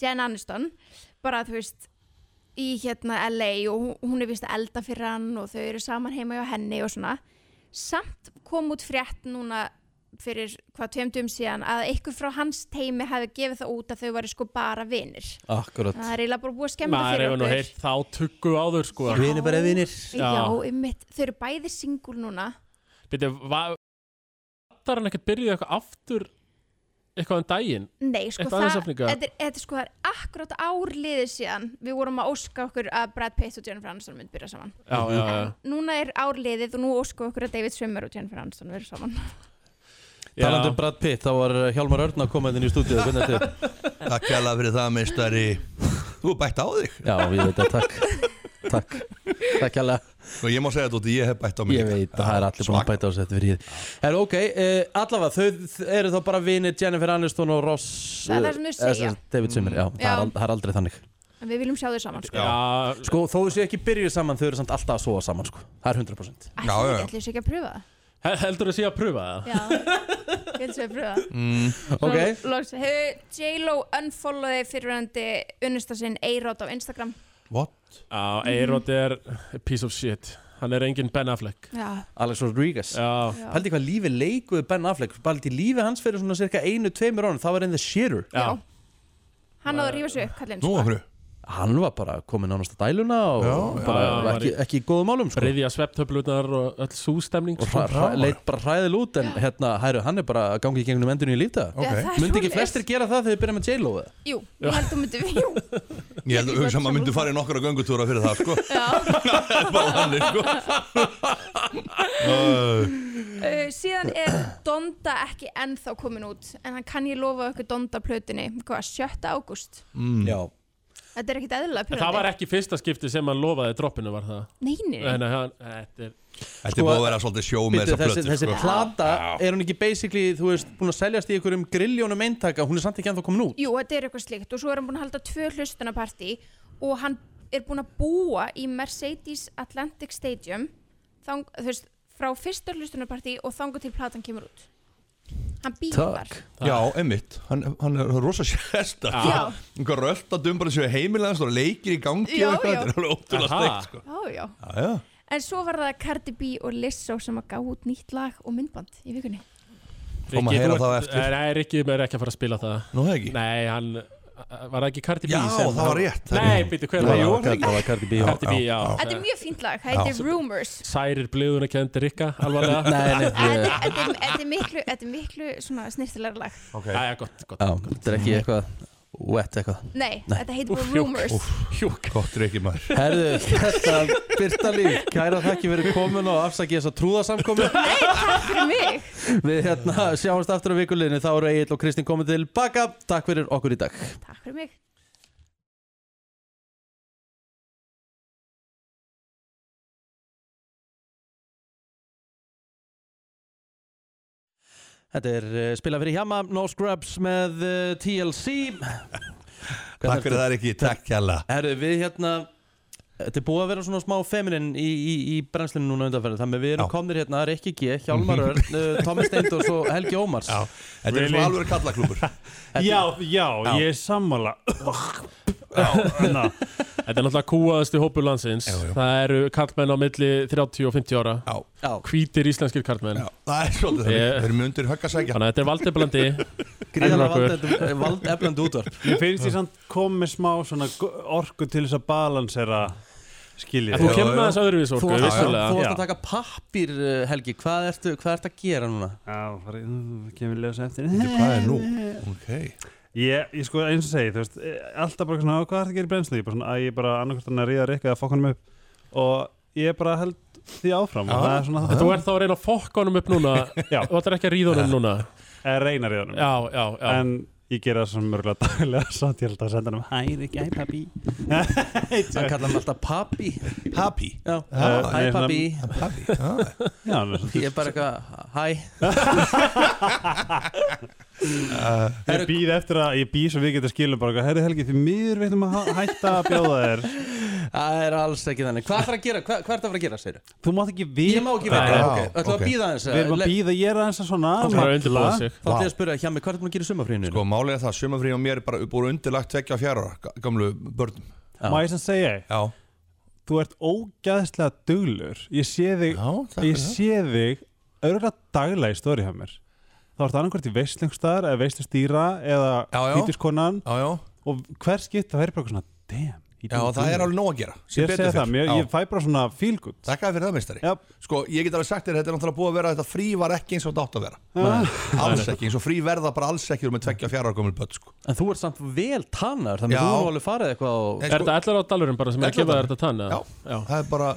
G: Jen Aniston bara þú veist í hérna LA og hú- hún er vist að elda fyrir hann og þau eru saman heima hjá henni og svona samt kom út frétt núna fyrir hvað tveimtum síðan að einhver frá hans teimi hefði gefið það út að þau væri sko bara vinir
A: Akkurat
G: Það er eiginlega bara búið að skemmta
B: Maður
G: fyrir
B: hefur nú
G: okkur.
B: heyrt þá tuggu áður sko
G: Já.
A: Vinir bara vinir
G: Já,
B: Já.
G: einmitt. Þau eru bæði singul núna.
B: Býttu, var Hattar hann ekkert byrjuð eitthvað aftur eitthvað um daginn
G: Nei, sko
B: Eitthvað aðeins
G: það,
B: aflinga.
G: þetta er, þetta er sko, það er akkurát ár liðið síðan við vorum að óska okkur að Brad Pitt og Jennifer Aniston myndi byrja saman.
B: Já, já, já
G: Núna er ár liðið og nú óskum við okkur að David Swimmer og Jennifer Aniston verður saman.
A: Talandi um Brad Pitt, þá var Hjálmar Örn að koma inn í stúdíu Hvernig er þetta?
H: Takk hella fyrir það, meistari Þú er bætt á þig
A: Já, ég veit að takk Takk, takk hella
H: Og ég má segja þetta út, ég hef bætt á mig
A: Ég veit að það er allir búin að bæta á þessu eftir fyrir Það er ok, uh, allavega þau þ- eru þá bara vinir Jennifer Aniston og Ross
G: Það er það sem þau
A: eh,
G: segja.
A: eða sem sagt David Simmer, já, Það, er
G: Já.
A: al, það er aldrei þannig
G: En við viljum sjá þau saman, sko.
H: Já.
B: Já,
A: Sko, þó þessu ekki byrjuð saman, þau eru samt alltaf að sofa saman sko. Það er 100%
H: Já, já,
G: Ætlum
H: já.
G: við ætlum við ekki að pröfa það.
B: he- heldur þú sé að pröfa það?
G: Já, ég ætlum við að pröfa það.
A: Mm. Ok,
G: Svo Loks, hefur J.Lo unfollowði fyrirvændi unnista sinn Eyrod á Instagram?
H: What?
B: Já, Eirot er a piece of shit Hann er engin Ben Affleck
G: Já.
A: Alex Rodriguez
B: Já,
G: Já.
A: Pældi hvað lífi leikuðu Ben Affleck Pældi lífi hans fyrir svona cirka einu, tveimur ánum Það var einn the shearer
G: Já. Hann áður að rífa sig upp, kallinn,
H: Nú,
G: sko.
H: af hverju?
A: Hann var bara komin ánast að dæluna og
H: Já,
A: bara
B: já, já,
A: ekki,
B: var
A: ekki í góðum málum sko.
B: Riðja svepptöflunar og öll sústemning sko.
A: og hra, hra, leit bara hræðil út en hérna, hæru, hann er bara að gangi í gegnum endinu í lífda
H: Ok.
G: Já, það er
A: Myndi ekki
G: svoleiðis.
A: flestir gera það þegar þau byrja með J-Lo eða?
G: Jú, ég held þú myndi jú.
H: Ég held að hugsa maður myndi fara í nokkra göngutúra fyrir það, sko
G: Já.
H: Það er bara þannig, sko Æ,
G: Uh, síðan er Donda ekki ennþá komin út en hann kann ég lofa okkur Donda plötunni hvað, 7. ágúst
H: mm.
A: Já,
G: þetta er ekkit eðlilega
B: Það var ekki fyrsta skipti sem hann lofaði droppinu var það
G: neini,
B: Nei, nei, hann, þetta er
H: Þetta er
A: Sko,
H: búið að vera svolítið sjó með
A: Bittu,
H: þessa
A: þessi,
H: plötu,
A: þessi
H: sko
A: plata, er hún ekki basically, þú veist, búin að seljast í einhverjum grilljónum eintaka, hún er samt ekki ennþá komin út
G: jú þetta er eitthvað slikt og svo er hann búin að halda tvö hlustunapartí og hann er búin að búa í Mercedes Atlantic Stadium þang, þú veist, frá fyrsta hlustunapartí og þangu til platan kemur út hann býr þar
H: Já, einmitt, hann, hann er rosa sérsta
G: Já.
H: Einhver rölt að dum bara séu heimilegans og leikir í gangi
G: Já,
H: og eitthvað
G: já.
H: Þetta er alveg ótrúlega
B: Aha.
H: steikt, sko
G: já, já.
H: Já, já
G: en svo var það Cardi B og Lizzo sem að gá út nýtt lag og myndband í vikunni
H: Fáum að
B: Rikki,
H: heyra
B: þú
H: það
B: ert-
H: eftir.
B: Nei, Rikki er ekki að fara að spila það
H: Nú það ekki
B: Nei, hann Var það ekki Cardi B
H: Já,
B: sem-
H: það var rétt, það er
B: Nei,
H: rétt.
B: býttu, hver
H: Nei,
B: var
H: jú,
B: það?
H: var það ekki?
A: Það var Cardi B
B: Cardi B, já
G: þetta er mjög fínt lag, það heitir Rumors
B: Særir bliðuna kendi Rikka, alvarlega
A: Nei, nei,
G: Þetta
A: ég-
G: er- þetta er- þetta er miklu, þetta er miklu svona snirtilega lag.
B: Já, já, gott, gott
A: Já, þetta er ekki eitthvað wet eitthvað
G: Nei, þetta heitir bara
B: Úff, jú,
G: Rumors.
B: Hjúk
H: Gott reykir maður
A: Herðu, þetta Birta Líf, kæra þakki fyrir komin og afsakið þessa trúðasamkomi
G: Nei, takk fyrir mig.
A: Við hérna sjáumst aftur á vikuleginu, þá eru Egil og Kristín komið til baka Takk fyrir okkur í dag
G: Takk fyrir mig.
A: Þetta er uh, spila fyrir Hjama, No Scrubs með uh, TLC
H: Takk fyrir það ekki, takk hella
A: Herðu, við hérna Þetta er búið að vera svona smá feminin í, í, í brennslinu núna undanferðin Þannig að við erum
H: Já. Mhm.
A: komnir hérna Rikki G, Hjálmar Örn, uh, Tommi Steindors og Helgi Ómars
H: Þetta er
I: Really?
H: svona alveg kallaklúpur
I: Já, já, ég er sammála Þannig að
B: hérna. Þetta er náttúrulega kúaðasti hópur landsins
I: Já, já.
B: Það eru karlmenn á milli 30 og 50 ára
I: Já.
A: Já.
B: Hvítir íslenskir karlmenn
I: Já, það er svolítið það.
B: Ég-
I: Þeir eru mjög undir högg að sækja.
B: Þannig að þetta er valdeflandi
A: Gríðarlega
B: Enn nokkuð.
A: valdeflandi- valdeflandi útvarp
I: Ég
J: finnst því samt komið með smá svona g- orku til þess að balansera skiljið
B: En Þú
I: Já,
B: kemur
I: já.
B: með þess öðruvís
A: Þú
B: orku,
A: varst að-
B: vissulega
A: þú varst að
J: Já.
A: taka pappir, Helgi, hvað ertu, hvað ertu að gera núna?
J: Já, bara, mm, kemur ljósa eftir
I: Bíddu, Hvað er nú? Ok.
J: Ég, ég sko eins og segi, þú veist, eh, alltaf bara svona, "Á, hvað er það að gera í brennslu? Ég bara svona, að ég bara annarkvært hann að ríða rikka eða fokk honum upp og ég bara held því áfram og
I: Já.
J: það er svona
B: Þú ert þá að reyna að fokka honum upp núna
J: Já.
B: Þú ætlar ekki að ríða honum núna
J: er reynar í honum.
B: Já, já, já
J: En ég gera það svona mörgulega daglega samt ég held að senda hann um hæri, gæ, pappi.
A: Hann kallar hann alltaf pappi
I: Happy.
A: Já,
J: Ah,
A: hæ
J: nei, svona-
A: pappi
I: Happy. Já.
J: Já, hann er svona,
A: Ég er bara eitthvað, hæ
J: ég býð eftir að, ég býð svo við getum skilum bara, herri Helgi, því miður við ætlum að ha- hætta að bjóða þér.
A: Það er alls ekki þannig Hvað er það að gera, hvað, hvað er það að fara að gera, segir
J: Þú mátt ekki við, Ah,
A: Ég má ekki
I: Já,
A: vita, ok,
I: ok.
A: ætlum að býða aðeins eh,
J: við erum að
A: Le-
J: býða, ég er aðeins að svona,
B: Það er að
J: malla.
B: undirbúða sig
A: Þá ætlum ég að spyrja, hjá mig, hvað er það að gera í sumafrínu?
I: Sko, málið er það, sumafrí á mér er bara búið undirlagt tvekja og fjara ára, ga- gamlu börnum.
J: Má ég sem segja,
I: Já.
J: þú ert ógæðslega duglur ég sé þig,
I: Já, takk
J: ég
I: fyrir það.
J: sé þig örgulega daglega í stóri hjá mér þá ertu annarkvært í veistlingstæðar eða veistlustýra eða
I: Já, já.
J: hvítiskonan
I: Já, já.
J: og hver skipt þá er bara eitthvað svona damn, ég
I: Já, það er alveg nóg að gera. Sem
J: ég
I: betur
J: segi
I: fer.
J: það, mér,
I: Já.
J: ég fæ bara svona feel good
I: Takk að fyrir það, meistari.
J: Já.
I: Sko, ég get alveg sagt þér, þetta er náttúrulega búið að vera þetta frí var ekki eins og þetta átt að vera.
J: Ah.
I: Alls ekki, eins og frí verða bara alls ekki með tvekja og fjara ára gömul börn, sko.
A: En þú ert samt vel tannar, þannig
I: Já.
A: að þú hefur alveg farið eitthvað og...
I: Nei, sko-
B: Er þetta ellar á dalurum bara sem er að gefa þér þetta tann?
I: Já,
B: eða? já
I: það er bara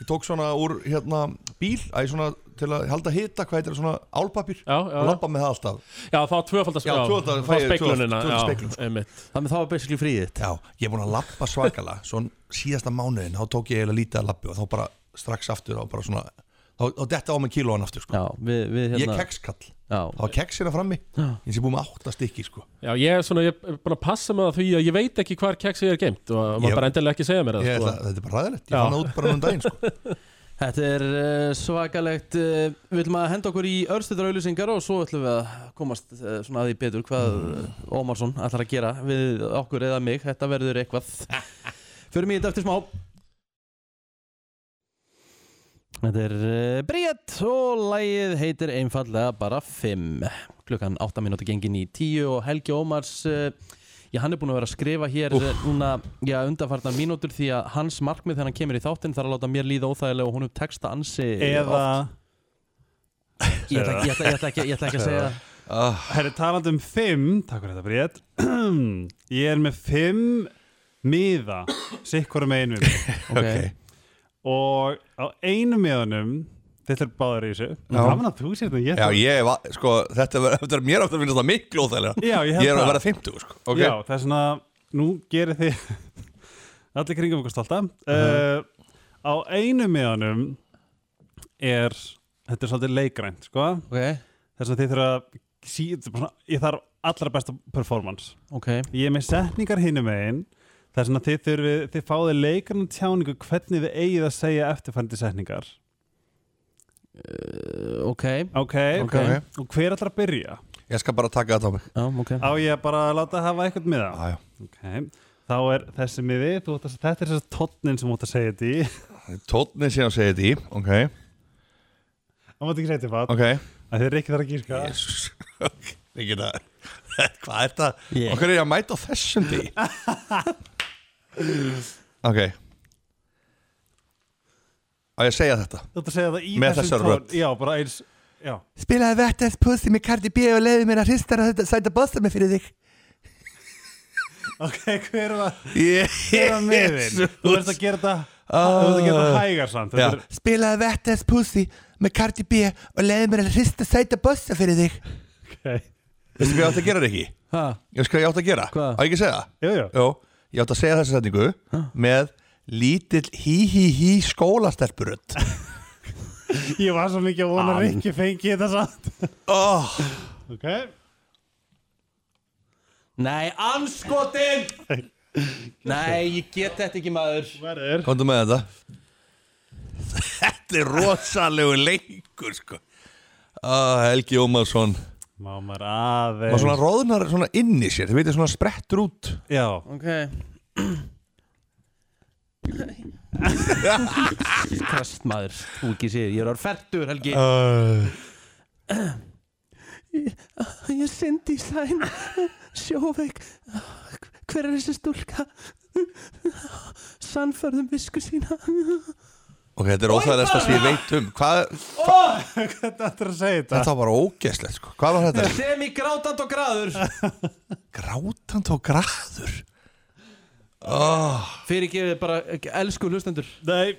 I: ég tók svona úr hérna bíl æ, svona, til að halda hita, hvað heitir það, svona álpapir
B: Já, já.
I: og lappa með það alltaf
B: Já, þá tvöfaldast
I: Já, tvöfaldar-
B: Þá
I: fæ ég
B: speklunina
I: tvöfald- tvöfald speklun, sko.
B: Já, einmitt
A: Þannig að það var basically fríðitt
I: Já, ég er búin að lappa svakalega svona síðasta mánuðin, þá tók ég eiginlega lítið að lappi og þá bara strax aftur þá bara svona, þá, þá detta á mig kílóan aftur sko.
A: Já, við, við
I: ég
A: hérna
I: er kekskall, þá
A: Já,
I: var keksina frammi eins og búin með átta stykki sko.
B: Já, ég er svona, ég er búin að passa með það því að ég veit ekki hvar keksi er geimt og
I: Ég-
B: maður bara endilega ekki segja mér það
I: ég,
B: sko.
I: ætla, þetta er bara ræðilegt, ég
B: Já.
I: fann það út bara núna um daginn sko.
A: þetta er uh, svakalegt uh, Við ætlum að henda okkur í örstuður auðlýsingar og svo ætlum við að komast uh, svona að því betur hvað mm. Ómarsson ætlar að gera við okkur eða mig Þetta verður eitthvað Fyrir mig þetta eftir smá Þetta er uh, Bríett og lægið heitir einfallega bara 5 klukkan 8 minúti gengin í 10 og Helgi Ómars uh, já, hann er búin að vera að skrifa hér uh, núna já, undarfarnar mínútur því að hans markmið þegar hann kemur í þáttinn þarf að láta mér líða óþægilega og hún upp texta ansi
J: eða,
A: oft. ég ætla, ég, ætla, ég, ætla ekki, ég ætla ekki að segja
J: herri talandi um fimm takk fyrir þetta Bríett ég er með fimm miða sikkur með einu
A: okay.
J: og á einu miðanum þetta er báður í þessu gaman að þú sér þetta ég
I: Já, ég, va- sko, þetta er, þetta er mér aftur að finna þetta miklu óþægilega
J: Já, ég held
I: ég er að
J: það.
I: vera 50 sko. okay.
J: Já, það er svona, nú gerir þið allir kringum okkur stolta uh, Á einu miðanum er, þetta er svolítið leikrænt, sko
A: Okay.
J: Þess að þið þurfa að, sí, þetta er bara svona, ég þarf allra besta performance
A: ok,
J: Ég er með setningar hinum megin Þess að þið þurfi, þið fáið leikrann tjáningu hvernig þið eigið að segja eftirfændi setningar
A: ok
J: Ok,
A: Ok.
J: og hver ætlar að byrja?
I: ég skal bara taka þetta á mig
A: já, ok
J: Á ég bara að láta hafa eitthvað miða?
I: Já, já.
J: Ok, þá er þessi miði, þú átt að, þetta er þessi tónnin sem þú átt að segja þetta í
I: Tótni sem að segja þetta í Ok,
J: Það mátt ekki segja þetta fatt
I: ok
J: Það er ekki þar að gíska
I: Jesus Ég geta Hvað er það?
A: Ég.
I: Okkur er ég að mæta á þessum dí Ok Á ég að segja þetta
J: Þú átt að segja það í
I: Með
J: þessum
I: þessari
J: tón.
I: rödd.
J: Já, bara eins Já,
I: Spilaði Vettens Pussy með Cardi B og leiði mér að hristara þetta sæta bosta með fyrir þig
J: ok, hver var Hver var miðin?
I: Jesus
J: Þú verðst að gera þetta Þú verðst að gera þetta hægar samt
I: Já.
J: Þetta er,
I: Spilaði Vettens Pussy með Cardi B og leiði mér að hrista sæta bosta fyrir þig
J: okay.
I: Veistu hvað ég átti að gera, Riki?
A: ha,
I: Ég veist hvað ég átti að gera?
A: Hvað?
I: Á ég ekki að segja það?
J: Jú, jú
I: Jó, ég átti að segja þessa setningu með lítill hí-hí-hí skólastelpurönd
J: Ég var svo mikið að vona að Rikki fengi þetta samt
I: oh,
J: Ok
A: nei, anskotin nei, ég get þetta ekki maður
J: Verður
I: Komdu með þetta Þetta er rosalegu leikur sko Ah, Helgi Ómarsson
J: Má maður aðeins
I: maður svona róðnar svona inn í sér, þið veitir svona sprettur út
J: Já
A: ok, Kast maður, þú ekki séð, ég er orð færtur Helgi
K: Ég syndi í slæn Sjóveik Hver er þessi stúlka? Sannförðum visku sína
I: Ok, þetta er óþægilegast að ég veit um Hvað,
J: Hvernig ættir að segja þetta?
I: þetta var bara ógeðslegt sko. Hvað var þetta?
A: Sem í grátand og graður
I: Grátand og graður oh.
A: Fyrir ekki bara, elsku hlustendur
J: Nei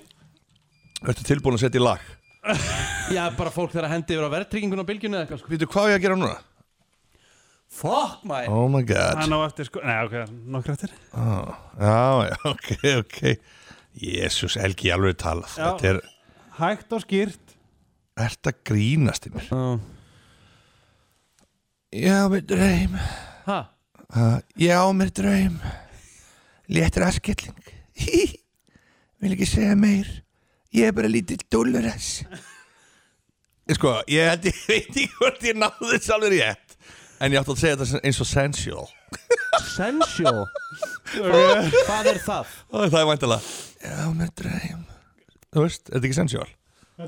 I: Ertu tilbúin að setja í lag?
A: Já, bara fólk þegar að hendi yfir á verðtryggingun á bylgjunni eða eitthvað sko.
I: Vítu, hvað á ég að gera núna?
A: Fuck my
I: Oh my god
J: Hann á eftir sko Nei, ok, nokkur eftir
I: oh. Já, já, ok, ok Jésús, Helgi, alveg talað
J: Já.
I: Þetta er,
J: Hægt og skýrt
I: ert að grínast í mér
A: oh.
I: Já, mér draum
A: Ha?
I: uh, Já, mér draum Léttur aðskelling Vil ekki segja meir Ég er bara lítið dólaress Sko, ég held ég veit ekki hvort ég náði þess alveg rétt En ég átti að segja þetta sem- eins og sensual
A: Sensual Hvað er það?
I: Og það er væntalega Já, mér draum Þú veist, er þetta ekki sensual? Já.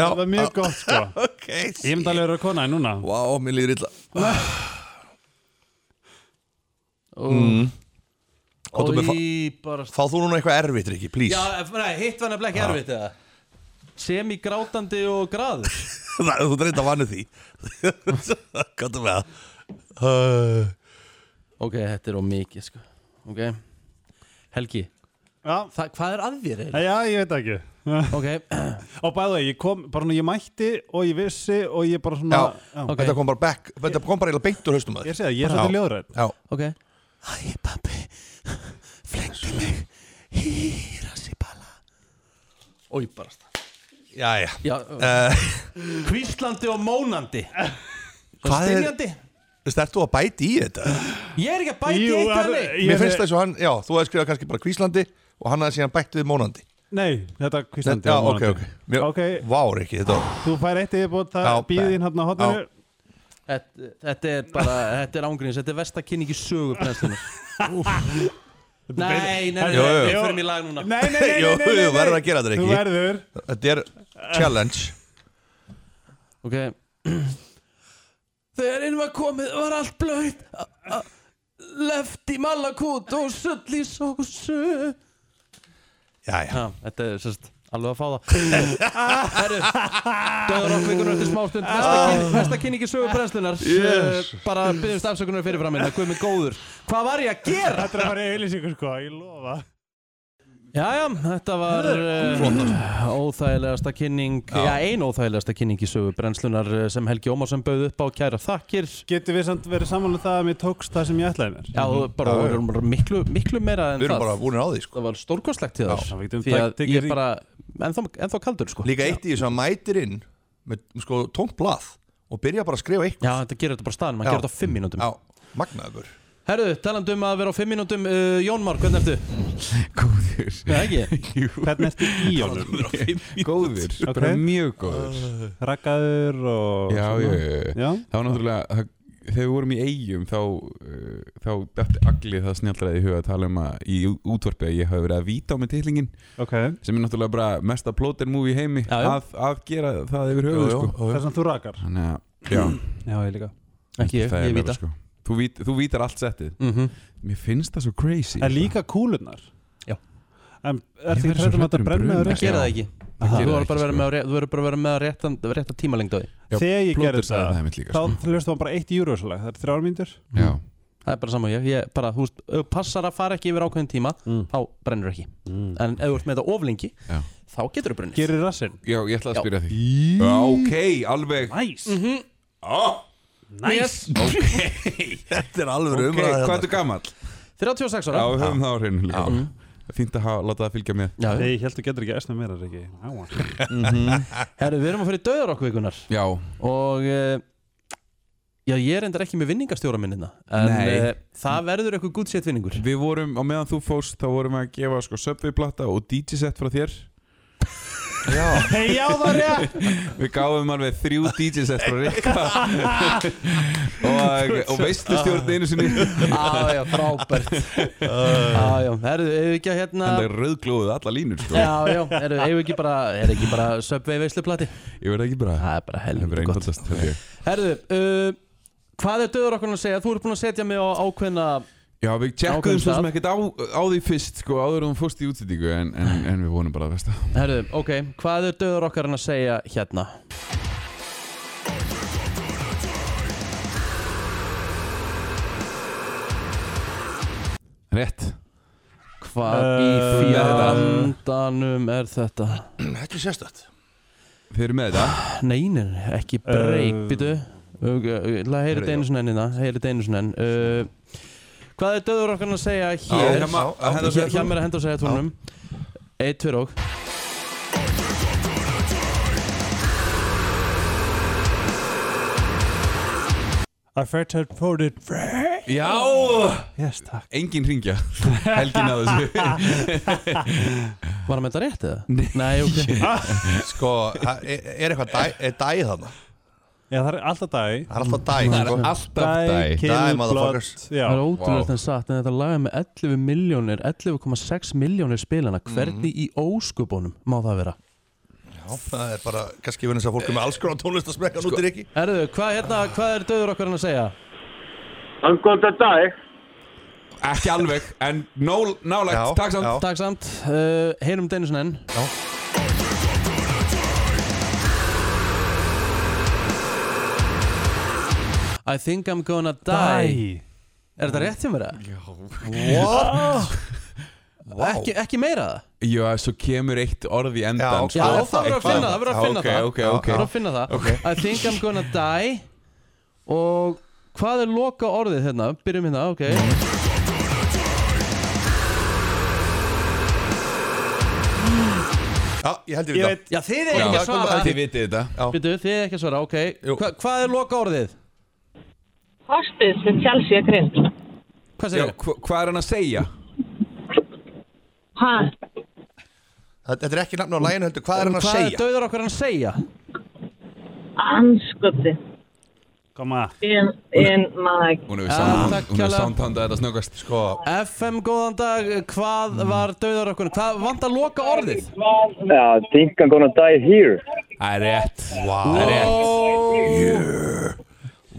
J: Það var mjög gott sko
I: Ok,
J: Ég myndi alveg að vera kona en núna
I: Vá, mér líður illa
A: Mm.
I: Komdu með
A: Og í bara
I: Fá þú núna eitthvað erfitt, Rikki, please Ah.
A: Já, ef- nei, hitt var nefnilega ekki erfitt eða Sem í grátandi og graður
I: Það, þú dreynda vannu því Komdu með það uh,
A: Ok, þetta er of mikið sko Ok Helgi
J: Já.
A: Þa, Hvað er að
J: Æ,
A: þér eiginlega?
J: Já, ég veit það ekki
A: Ok,
J: Og bæðu að ég kom Bara nú ég mætti og ég vissi og ég bara svona
I: Já,
J: Já.
A: ok,
I: Þetta kom bara back Þetta kom bara eiginlega beint úr haustum að
J: Ég
I: þér
J: segi það, ég er
I: Já.
J: svolítið ljóðrætt
I: Já,
A: ok
K: Æ, pappi Flengdi mig Hýrasibala
A: Ói, bara
I: já, já
A: Já,
I: uh,
A: Hvíslandi og mónandi
I: Hvað er-
A: Stinjandi
I: Ert þú að bæti í þetta?
A: Ég er ekki að bæti
J: Jú,
A: eitt
J: að-
A: henni
J: Ég
I: Mér
J: er-
I: finnst það eins og hann Já, þú hefði skrifað kannski bara kvíslandi Og hann hefði síðan bætt við mónandi
J: Nei, þetta kvíslandi
I: Já,
J: á
I: ok,
J: mánudaginn.
I: ok Mér,
J: Ok.
I: Vá, Rikki, þetta var
J: Þú fær eitt yfirbútt Það
I: Já,
J: býði þín hann á hotninu
I: Já.
A: Þetta þetta er bara, þetta er ángríns Þetta er versta kynningi sögu brennslunar Nei, nei, nei, nei,
I: Jú, jú.
A: við förum í lag núna
J: Nei, nei, nei, nei,
I: Jú,
J: nei, nei,
I: jú,
J: nei.
I: verður að gera þetta,
J: Þú
I: Rikki.
J: verður
I: Þetta er challenge
A: Ok,
K: Þegar inn var komið var allt blöyt Lefti malakút og sull í sósu
I: Já, já
A: já, þetta er sérst alveg að fá það Herru, döður okkur vikunar eftir smástund Mesta,
I: Ah.
A: kyn, mesta kynningi sögu brennslunar yes. Bara byggjumst afsökunar fyrir framina Guð minn góður, hvað var ég að gera?
J: Þetta er bara auðlýsingur sko, ég lofa
A: Jæja, þetta var uh, óþægilegasta kynning, já, ein óþægilegasta kynning í sögu brennslunar eh, sem Helgi Ómarsson bauð upp á kæra þakkir
J: Getur við samt verið saman um það að mér tókst það sem ég ætlaði mér?
A: Já,
I: Mhm.
A: bara
I: Já, já.
A: við erum bara miklu, miklu meira en
I: Við erum
A: það
I: bara búinir á því, sko
A: Það var stórkostlegt til
J: Já,
A: þar
J: við getum
A: Því að
J: tekið
A: ég er
J: í-
A: bara, ennþá, ennþá kaldur sko
I: Líka eitt í þessu að mætir inn Með sko tómt blað Og byrja bara að skrifa eitthvað
A: Já, þetta gerir þetta bara staðan, maður
I: Já.
A: gerir þetta á fimm mínútum
I: Já, magnaður
A: Herru, talandu um að vera á fimm mínútum uh, Jónmar, hvernig ertu?
L: Góður
A: Nei, ekki
J: Hvernig ertu í honum?
L: Góður,
J: Ok.
L: bara mjög góður
J: Rakaður og...
L: Já, já,
J: svona?
L: já, já.
J: Já,
L: Það var náttúrulega það- Þegar við vorum í eigum þá uh, þá dætti allir það snjaldræði í huga að tala um að í ú- útvarpi að ég hafi verið að víta á með titlingin
J: ok
L: sem er náttúrulega bara mesta plóter movie í heimi
A: Já, já.
L: Að, að gera það yfir höfuð sko.
J: Það er svona þú rakar
L: Þannig að, já,
J: Já, ég líka
A: Ekki ég,
L: það
A: ég
L: er
A: vita
L: bara sko Þú, vít, þú vítar allt settið
A: mm
L: Mér finnst það svo crazy sko.
J: En líka kúlunar
A: Já.
J: En
L: Ég
J: er þetta ekki hrættum að
L: verð svo hræddur
J: þetta
L: um
J: brenna
L: bruna.
J: þér upp?
A: Gera það
L: Já.
A: ekki
L: Það
A: Þú
L: gerir
A: verður
L: ekki,
A: bara að vera
L: sko.
A: með, ré- þú verður bara að vera með réttan, rétta tímalengd á því
L: Já,
J: Þegar ég
L: Plóter
J: gerði
L: sagði það
J: það
L: einmitt líka
J: Þá
L: sko.
J: hlustum við bara eitt júruvæslega Það er þrjár mínútur
L: Já,
A: Það er bara saman ég, ég bara, þú veist, ef þú passar að fara ekki yfir ákveðin tíma
J: Mm.
A: þá brennur ekki En ef þú ert með þetta oflengi
L: Já.
A: þá getur þú brunnið
J: Gerir rassinn
L: já ég ætlaði
A: Já. Mhm.
L: að spyrja því Já, ok, alveg
J: Næs
L: oh,
J: Næs
I: Þetta er alveg
L: Ok,
I: umræða
L: hvað
I: hérna.
L: ertu gamall?
A: 36
L: Já,
A: ára
L: við höfum það á hreinu líka Fínt að hafa, láta það fylgja með
A: Já,
J: Þegar ég held þú getur ekki æsna meira, Riki Áa
A: herru, við erum að fyrir döður okkur vikunar
L: Já,
A: Og eh, Já, ég er endar ekki með vinningastjóra minnina En
L: Nei.
A: eh, það verður eitthvað gútt sétt vinningur
L: við vorum, á meðan þú fórst þá vorum við að gefa sko Subway-platta og DJ-set frá þér Já,
J: Já, það er rétt.
L: Við gáfum alveg þrjú DJ set frá Rikka og, og veistu stjórn einu sinni
A: Já, já, frábært Já, já, herðu, hefur ekki að hérna
L: Það er rauðglóðuð alla línur sko.
A: Já, já, herðu, hefur ekki bara Er ekki bara söpvei veisluplati
L: Ég verð ekki bara
A: Það er bara helviti
L: gott Það er
A: Herðu, uh, hvað er döður okkur að segja? Þú ert búin að setja mig á ákveðna
L: Já, við
A: Ákveðum
L: tjekkuðum svo sem
A: stað.
L: ekkert á, á því fyrst sko, áður um fórst í útsendingu en, en, en við vonum bara að versta
A: Herðu, ok, hvað er döður okkar að segja hérna?
L: Rétt
A: Hvað í
L: Eh,
A: fjandanum er þetta?
I: Þetta er sérstætt
L: Þið eru með þetta?
A: Nei, nei, nei, ekki breyk,
L: Eh,
A: býtu Það heyrir þetta einu sinni ennina Heyrir þetta einu sinni enn uh, Hvað er döður okkar að segja
L: Já,
A: hér?
L: hérna má- að henda og segja
A: Hér hjá mér að henda og segja tónum Eitt, tver og
J: I've heard her voted Frank
L: Já
J: Yes, takk
L: Engin ringja Helgin að þessu
A: Var hann með þetta rétt eða? Nei, ok
I: Sko, það er er eitthvað dæ, er dæ þarna?
J: Já, það er alltaf dæ Það
I: er alltaf dæ
A: Það er
I: sko.
A: alltaf
J: Dæ, dæ. kill,
I: Dæ,
J: blood,
I: motherfuckers
J: já.
A: Það er ótrúlega wow. satt en þetta lag er með 11 miljónir 11,6 miljónir spilana hvernig í óskupunum má það vera?
I: Já, það er bara, kannski verður þess að fólk er með alls konar tónlist að smekka nútir ekki
A: Erðu, Sko, hvað, hérna, hvað er döður okkar hann að segja?
D: Hann góða dag.
L: Ekki alveg, en nól- nálægt, takk samt
A: Takk samt, uh, heyrum þetta einu sinni enn Já I think I'm gonna die
J: Die.
A: Er þetta rétt hjá mér það? Já
L: What?
A: Ekki, ekki meira það?
L: Já, svo kemur eitt orð í endan
A: Já, það verður að finna það, það verður að finna það
L: Ok,
A: Það
L: ok,
A: verður að finna það I think I'm gonna die Og hvað er loka orðið hérna? Byrjum hérna, ok
I: Já, ég held
A: Ég veit- Já, þið er ekki að svara
L: Þið vitið þetta
A: Býtu, þið er ekki að svara, ok Hva, Hvað er loka orðið?
C: Hospice sem Chelsea er grind.
A: Hvað
L: segir þið? Hvað er hann að segja?
C: Hæ?
I: Þetta þetta er ekki nafn á læginu heldur, hvað er hann að
A: Hvað er
I: segja?
A: döður okkar hann að segja?
C: Anskoti.
J: Koma
C: In, in my...
L: Hún
A: Ah,
L: hefur sound-
A: takk
L: hún hefur
A: kærlega.
L: samtandað þetta snöggast Sko Mm.
A: FM, góðan dag, hvað var döður okkur? Hvað vant að loka orðið?
D: Já, I think I'm gonna die here.
L: Það er rétt
I: Wow.
L: Það er rétt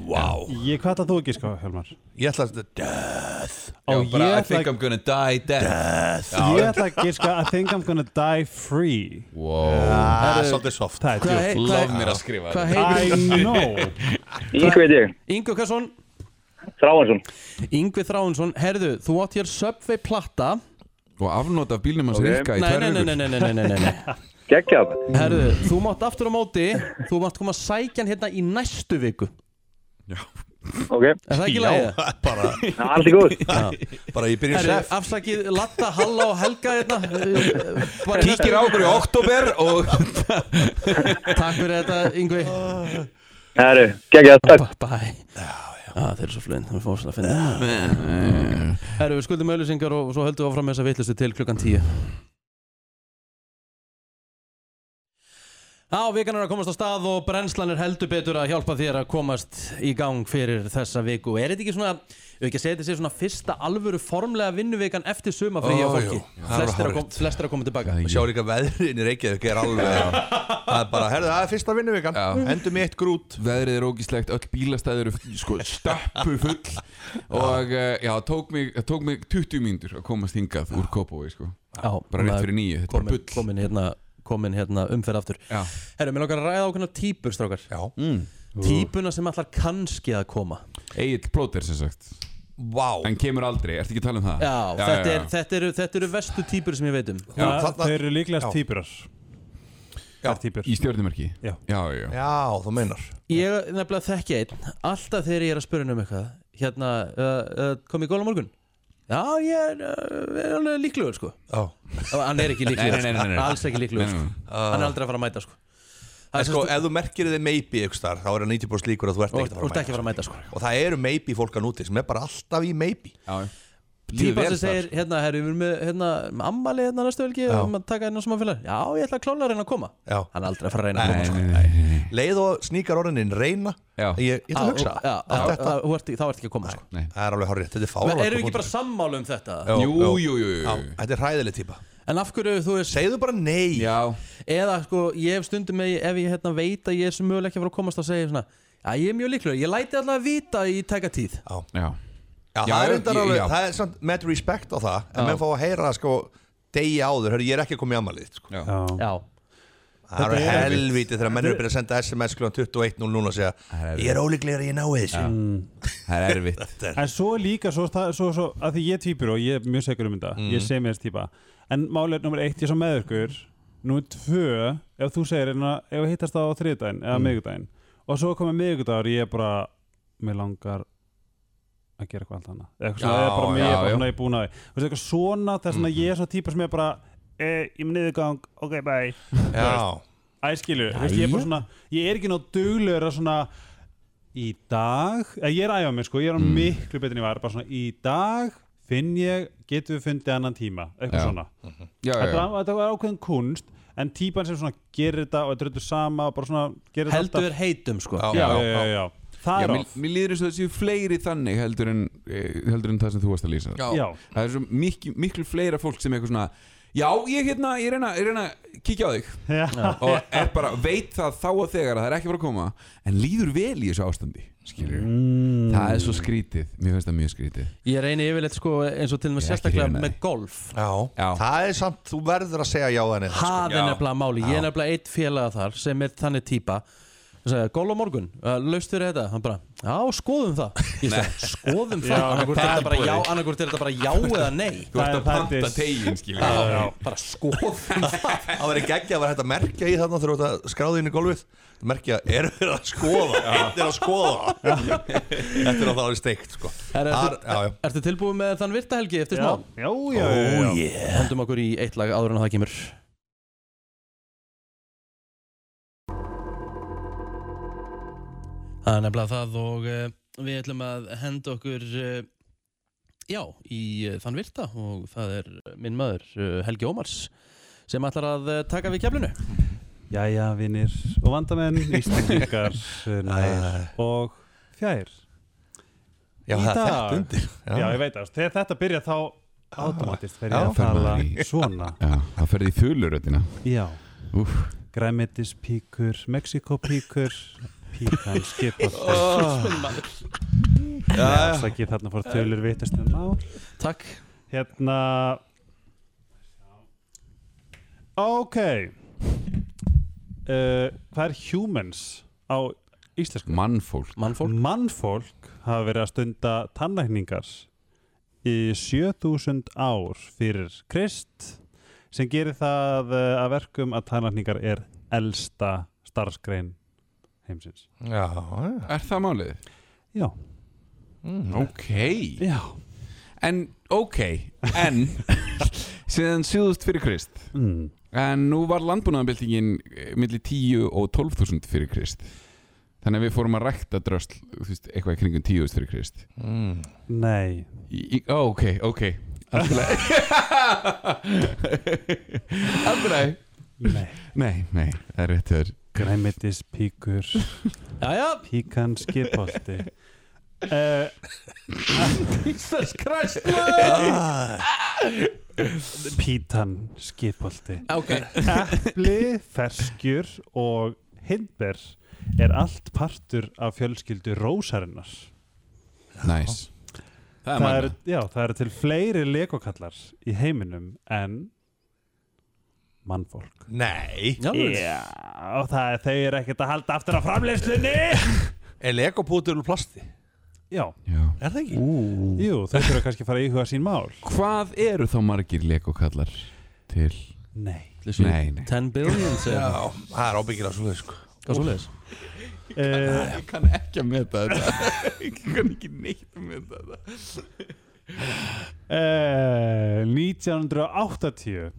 I: Wow
J: Ég hvað ætla þú ekki sko, Hjálmar
I: Ég ætla að Death
J: Ó,
L: Já, bara,
J: ég
L: I
J: ætla-
L: think I'm gonna die death Death
J: Ég ætla að giska I think I'm gonna die free
L: Wow
I: Það
J: Herru,
I: er svolítið soft
J: Það er
A: Hvað hei-
J: djúpt.
A: hvað-
L: Lof mér að skrifa
A: Hvað
L: þetta.
A: heitir?
J: I know
D: Yngvi er ég.
A: Yngvi Hversson
D: Þráhansson.
A: Yngvi Þráinsson, herðu, þú átt hér Subway platta
L: Og afnóta af bílnum hans
A: Ok.
L: Rikka í
A: Nei,
L: tvær
A: nei, nei,
L: vikur.
A: nei, nei, nei, nei, nei, nei.
D: Gekjað.
A: Herðu, þú mátt aftur á móti Þú mátt koma að sækja hann hérna í næstu viku
D: Ok.
A: Er það ekki í lagi?
I: Já, bara
D: Já, allt í góð.
I: Bara ég byrja
A: Herðu,
I: sef
A: afsakið Latta, Halla og Helga hérna eh, bara í
L: Kíkir á
A: næstu-
L: okkur í oktober og
A: Takk fyrir þetta, Yngvi
D: Herru, geggjað, takk.
A: Bye. Já, þeir eru svo flinn, það er fórsætt að finna Herru, við skuldum auðlýsingar og svo höldum við áfram með þessa vitlustu til klukkan 10 Á, vikan er að komast á stað og brennslan er heldur betur að hjálpa þér að komast í gang fyrir þessa viku. Er þetta ekki svona, ef ekki að segja þetta sé svona fyrsta alvöru formlega vinnuvikan eftir sumafrí á
I: Ó,
A: fólki?
I: jú. Það er
A: Flestir að,
I: hárrétt.
A: kom, flestir að koma tilbaka.
I: Sjá líka veðrin í Reykjavík er alveg Það er bara, herðu, það er fyrsta vinnuvikan Endum í eitt grút
L: Veðrið er ógíslegt, öll bílastæður eru sko stappu full og eh, já, tók mig, það tók mig 20 mínútur að komast hingað
I: Ah.
L: úr Kópavói sko.
A: Já,
L: bara rétt fyrir nýju, þetta er bara
A: komin, komin, hérna, komin hérna umferð aftur
L: Já.
A: Herru, mér langar að ræða ákveðna típur, strákar
I: Já
L: Mm.
A: Típuna sem allar kannski að koma
L: Egil plóter sem sagt
I: Vá
L: En kemur aldrei, ertu ekki að tala um það?
A: Já, þetta, Er, þetta, eru, þetta eru vestu típur sem ég veit um
L: Já, þarna-
J: Þeir eru líklegast
L: Já.
J: týpurar
I: Já,
J: týpur
L: Í stjórnumarki?
J: Já.
L: Já, já, já.
I: Já, þú meinar
A: Ég nefnilega þekki einn Alltaf þegar ég er að spura hann um eitthvað Hérna, uh, uh, kom ég góla morgun? Já, ég er, uh, er alveg líklegur sko
I: Já.
A: Hann er ekki
L: Nei,
A: líklegur
L: nei, nei, nei, nei.
A: sko. Alls ekki líklegur
L: Nei,
A: sko.
L: nei,
A: Hann er aldrei að fara að mæta sko
I: En sko, ef þú merkir þið maybe ykkur starf, þá er það 90% líkur að sko. þú ert
A: Þú
I: ekkert
A: ert- þú ert ekki að fara að mæta,
I: sko. Og það eru maybe fólkan úti sem er bara alltaf í maybe.
L: Já.
A: Týpa sem segir, hérna, herru, við erum með, hérna, með ammali hérna næstu velgi
H: Já.
A: og við erum að taka hérna smá félag Já, ég ætla að klála að reyna að koma
H: Já.
A: Hann er aldrei að fara að reyna að koma sko.
H: Leið og sníkar orðinin reyna
A: Já.
H: Ég, ég ætla
A: Á,
H: að hugsa
A: já, á,
H: Allt þetta-
A: á, þú ert- Þá ert ekki að koma sko.
H: Nei. Það er alveg horrið, þetta er
A: Men
H: fálega
A: Erum við ekki bara sammála um þetta?
H: jú Já, Þetta er hræðileg týpa
A: En af hverju þú veist
H: Segðu bara nei
L: Já
A: Eða sko, ég hef stundum með, ef ég hérna veit að ég er sem mögulega ekki að fara að komast að segja svona Já, ég er mjög líklegur, ég læti alltaf að vita í tæka tíð
H: Já,
L: já.
H: Já, það er reyndar alveg, það er samt með respect á það, en
A: Já.
H: menn fá að heyra það sko degi áður, hörru, ég er ekki að koma í amalið sko.
L: Já.
H: Það
L: Þetta
H: eru
L: er
H: helvítið þegar menn eru
L: Þetta
H: byrjað að senda SMS kl. 21.00 núna og segja,
L: erfitt.
H: ég er ólíklegur að ég nái þessu
L: Það er erfitt
H: Þetta er-
J: En svo er líka, svo, það, svo, svo, að því ég er týpur og ég er mjög segur um þetta,
L: Mm.
H: Mhm.
J: ég sé mér þessi týpa En málið er nummer eitt, ég er svo með ykkur Númer tvö, ef þú segir hérna, ef við hittast það á þriðdæn eða
L: Mm.
J: mm. miðgudæn Og svo komið miðgudagur, ég er bara, mér langar að gera eitthvað allt annað Eða Eitthvað svona, ég
L: Já,
J: er bara, mér
L: já,
J: er bara
L: já. Mhm.
J: svona, ég er búin að því Þú veist, eitthvað svona, það er svona, ég er svo týpa sem er bara e, Ég er með niðurgang, ok, bye Þú
H: Já.
J: veist, Æ, skilu, þú veist, ég er bara
H: Jæja.
J: svona Ég er ekki nátt duglegur að svona í dag, eða ég er að æfa mig sko, ég er á
L: Mm.
J: miklu betur en ég var, bara svona í dag finn ég, getum við fundið annan tíma, eitthvað
L: Já.
J: svona
L: Mhm. Já, já,
J: þetta,
L: já.
J: var- þetta var ákveðin kunst en típan sem svona gerir þetta og þetta er þetta sama og bara svona gerir þetta
A: Heldur
J: alltaf-
A: heitum sko
J: já, já, já, já, það
L: Já,
J: er
L: mér,
J: oft
L: mér líður eins og það séu fleiri þannig heldur en, eh, heldur en það sem þú varst að lýsa
J: Já. Já.
L: Það er svo miklu, miklu fleira fólk sem er eitthvað svona Já, ég hérna, ég reyna, ég reyna að kíkja á þig
J: Já.
L: Og er bara, veit það þá og þegar að það er ekki bara að koma En líður vel í þessu ástandi, skilur
J: mm.
L: Það er svo skrítið, mér finnst það mjög skrítið
A: Ég reyni yfirleitt sko eins og til og með
L: Ég er ekki
A: sérstaklega
L: hrifinn af
A: með golf
H: Já, það er samt, þú verður að segja já þannig
A: Það er nefnilega sko. máli, ég er nefnilega eitt félaga þar sem er þannig típa Sæði, gól á morgun, uh, laust fyrir þetta Hann bara, já, skoðum það Ég sagði, skoðum
K: Já,
A: það, annarkvort er þetta bara
K: tilboði.
A: já Annarkvort er þetta bara já eða nei
L: Þú ert að panta tegin, skilur
A: Já, já. Bara skoðum
H: Það verður geggja að vera hægt að merkja í þarna þegar þú ert að skráði inn í golfið Merkja, er verið að skoða, einn er að skoða Þetta er á það alveg steikt sko
A: Er,
H: Þar-
A: ertu,
H: já, já.
A: ertu tilbúið með þann virta helgi eftir
H: Já.
A: smá?
H: já,
J: Já,
H: já, já.
A: Oh, yeah. Hendum okkur í eitt lag áður en það kemur Það er nefnilega það og uh, við ætlum að henda okkur uh, já, í uh, þann virta og það er minn maður uh, Helgi Ómars sem ætlar að uh, taka við keflinu
J: Jæja, vinnir og vandamenn, Íslandingar nær og fjær
H: Já,
J: Í
H: það er
J: dag-
H: þetta undir.
J: Já.
H: Já.
J: ég veit það, þegar þetta byrja þá automatist fer
L: Já.
J: ég að
L: Fer maður
J: tala
L: í-
J: svona
L: Já, það ferði í þuluröddina
J: Já
L: Úf
J: Græmetispíkur, Mexikopíkur Píkan skipar
K: Ó.
J: Já, afsakið þarna fór þölur vitast um á
A: Takk
J: Hérna Ok uh, Hvað er humans á íslensku?
L: Mannfólk
A: Mannfólk,
J: hafa verið að stunda tannlækningar í 7000 ár fyrir Krist sem gerir það uh, að verkum að tannlækningar er elsta starfsgrein heimsins
H: Já,
L: Er það málið?
J: Já
L: Mm, Ok
J: Já
L: En, ok, en Síðan síðust fyrir Krist
J: mm.
L: En nú var landbúnaðanbyltingin milli 10 og 12.000 fyrir Krist Þannig að við fórum að rækta drösl þú veist, Eitthvað í kringum 10.000 fyrir Krist
H: mm.
J: Nei
L: í, í, ó, Ok, ok Allt í lagi. Allt í lagi.
J: Nei.
L: Nei, nei, það er rétt þér
J: Græmitispíkur
A: Jæja
J: Píkan skipolti
B: Eh.
J: uh,
A: Jesus Christ
J: Ah. Pítan skipolti
A: Ok.
J: Epli, ferskjur og hindber er allt partur af fjölskyldu rósarinnar
L: Næs Það er
J: það
L: magnað.
J: eru, Já, það eru til fleiri legokallar í heiminum en mannfólk
H: Nei
J: Já, og það er þau eru ekkert að halda aftur af framleyslunni
H: Er legopútur úr plasti?
J: Já,
L: Já.
H: Er það ekki?
J: Ú. Jú, þau þurfa kannski að fara að íhuga sín mál
L: Hvað eru þá margir legokallar til?
J: Nei.
L: Nei, nei
A: 10 billion
H: Já, það er ábyggilega svo sko
A: Hvað svo leiðis?
J: Eh.
L: Ég kann ekki að meta þetta Ég kann ekki neitt að meta þetta
J: Eh, 1980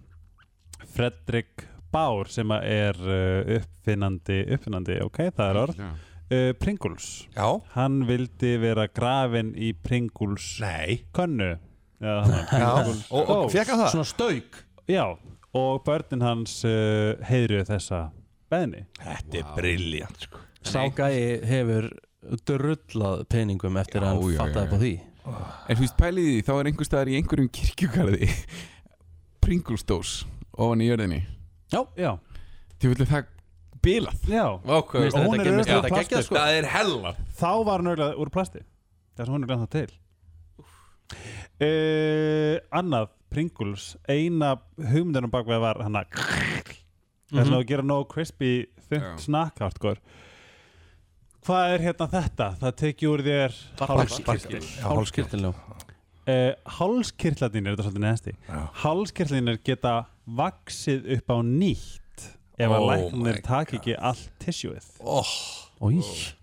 J: Fredrik Bár sem að er eh, uppfinnandi uppfinnandi, ok, það er orð Eh,
L: yeah.
J: Pringles
H: Já.
J: hann vildi vera grafin í Pringles Nei. könnu Já, þarna.
H: Já, og- og
J: Ó,
H: fékk hann það? Svona
A: stauk
J: Já, og börnin hans uh, heiðruðu þessa beðni
H: Þetta er brilljant sko.
A: Ságæi hefur drullað peningum eftir að hann fattaði upp á því
L: En þú veist, pælið í því, þá er einhver staðar í einhverjum kirkjugarði Pringulstós ofan í jörðinni
A: Já,
J: já
L: Þú vilja það bilað
J: Já,
L: Vákvæður
J: og hún er auðvitað úr plasti
L: sko.
H: hella
J: sko. Þá var hún auðvitað úr plasti Það sem hún er glæðan það til uh, Annað Pringles, eina hugmyndunum bakveð var hann að þess að gera nóg crispy
L: Já.
J: þunnt snakk hardcore Hvað er hérna þetta? Það tekið úr þér
A: Hálskirtil. Já, hálskirtil, já.
J: Eh, hálskirtlarnir er þetta svolítið neðasti hálskirtlarnir geta vaksið upp á nýtt ef að
H: Oh
J: læknir taki ekki allt tissjúið
H: oh,
A: Í.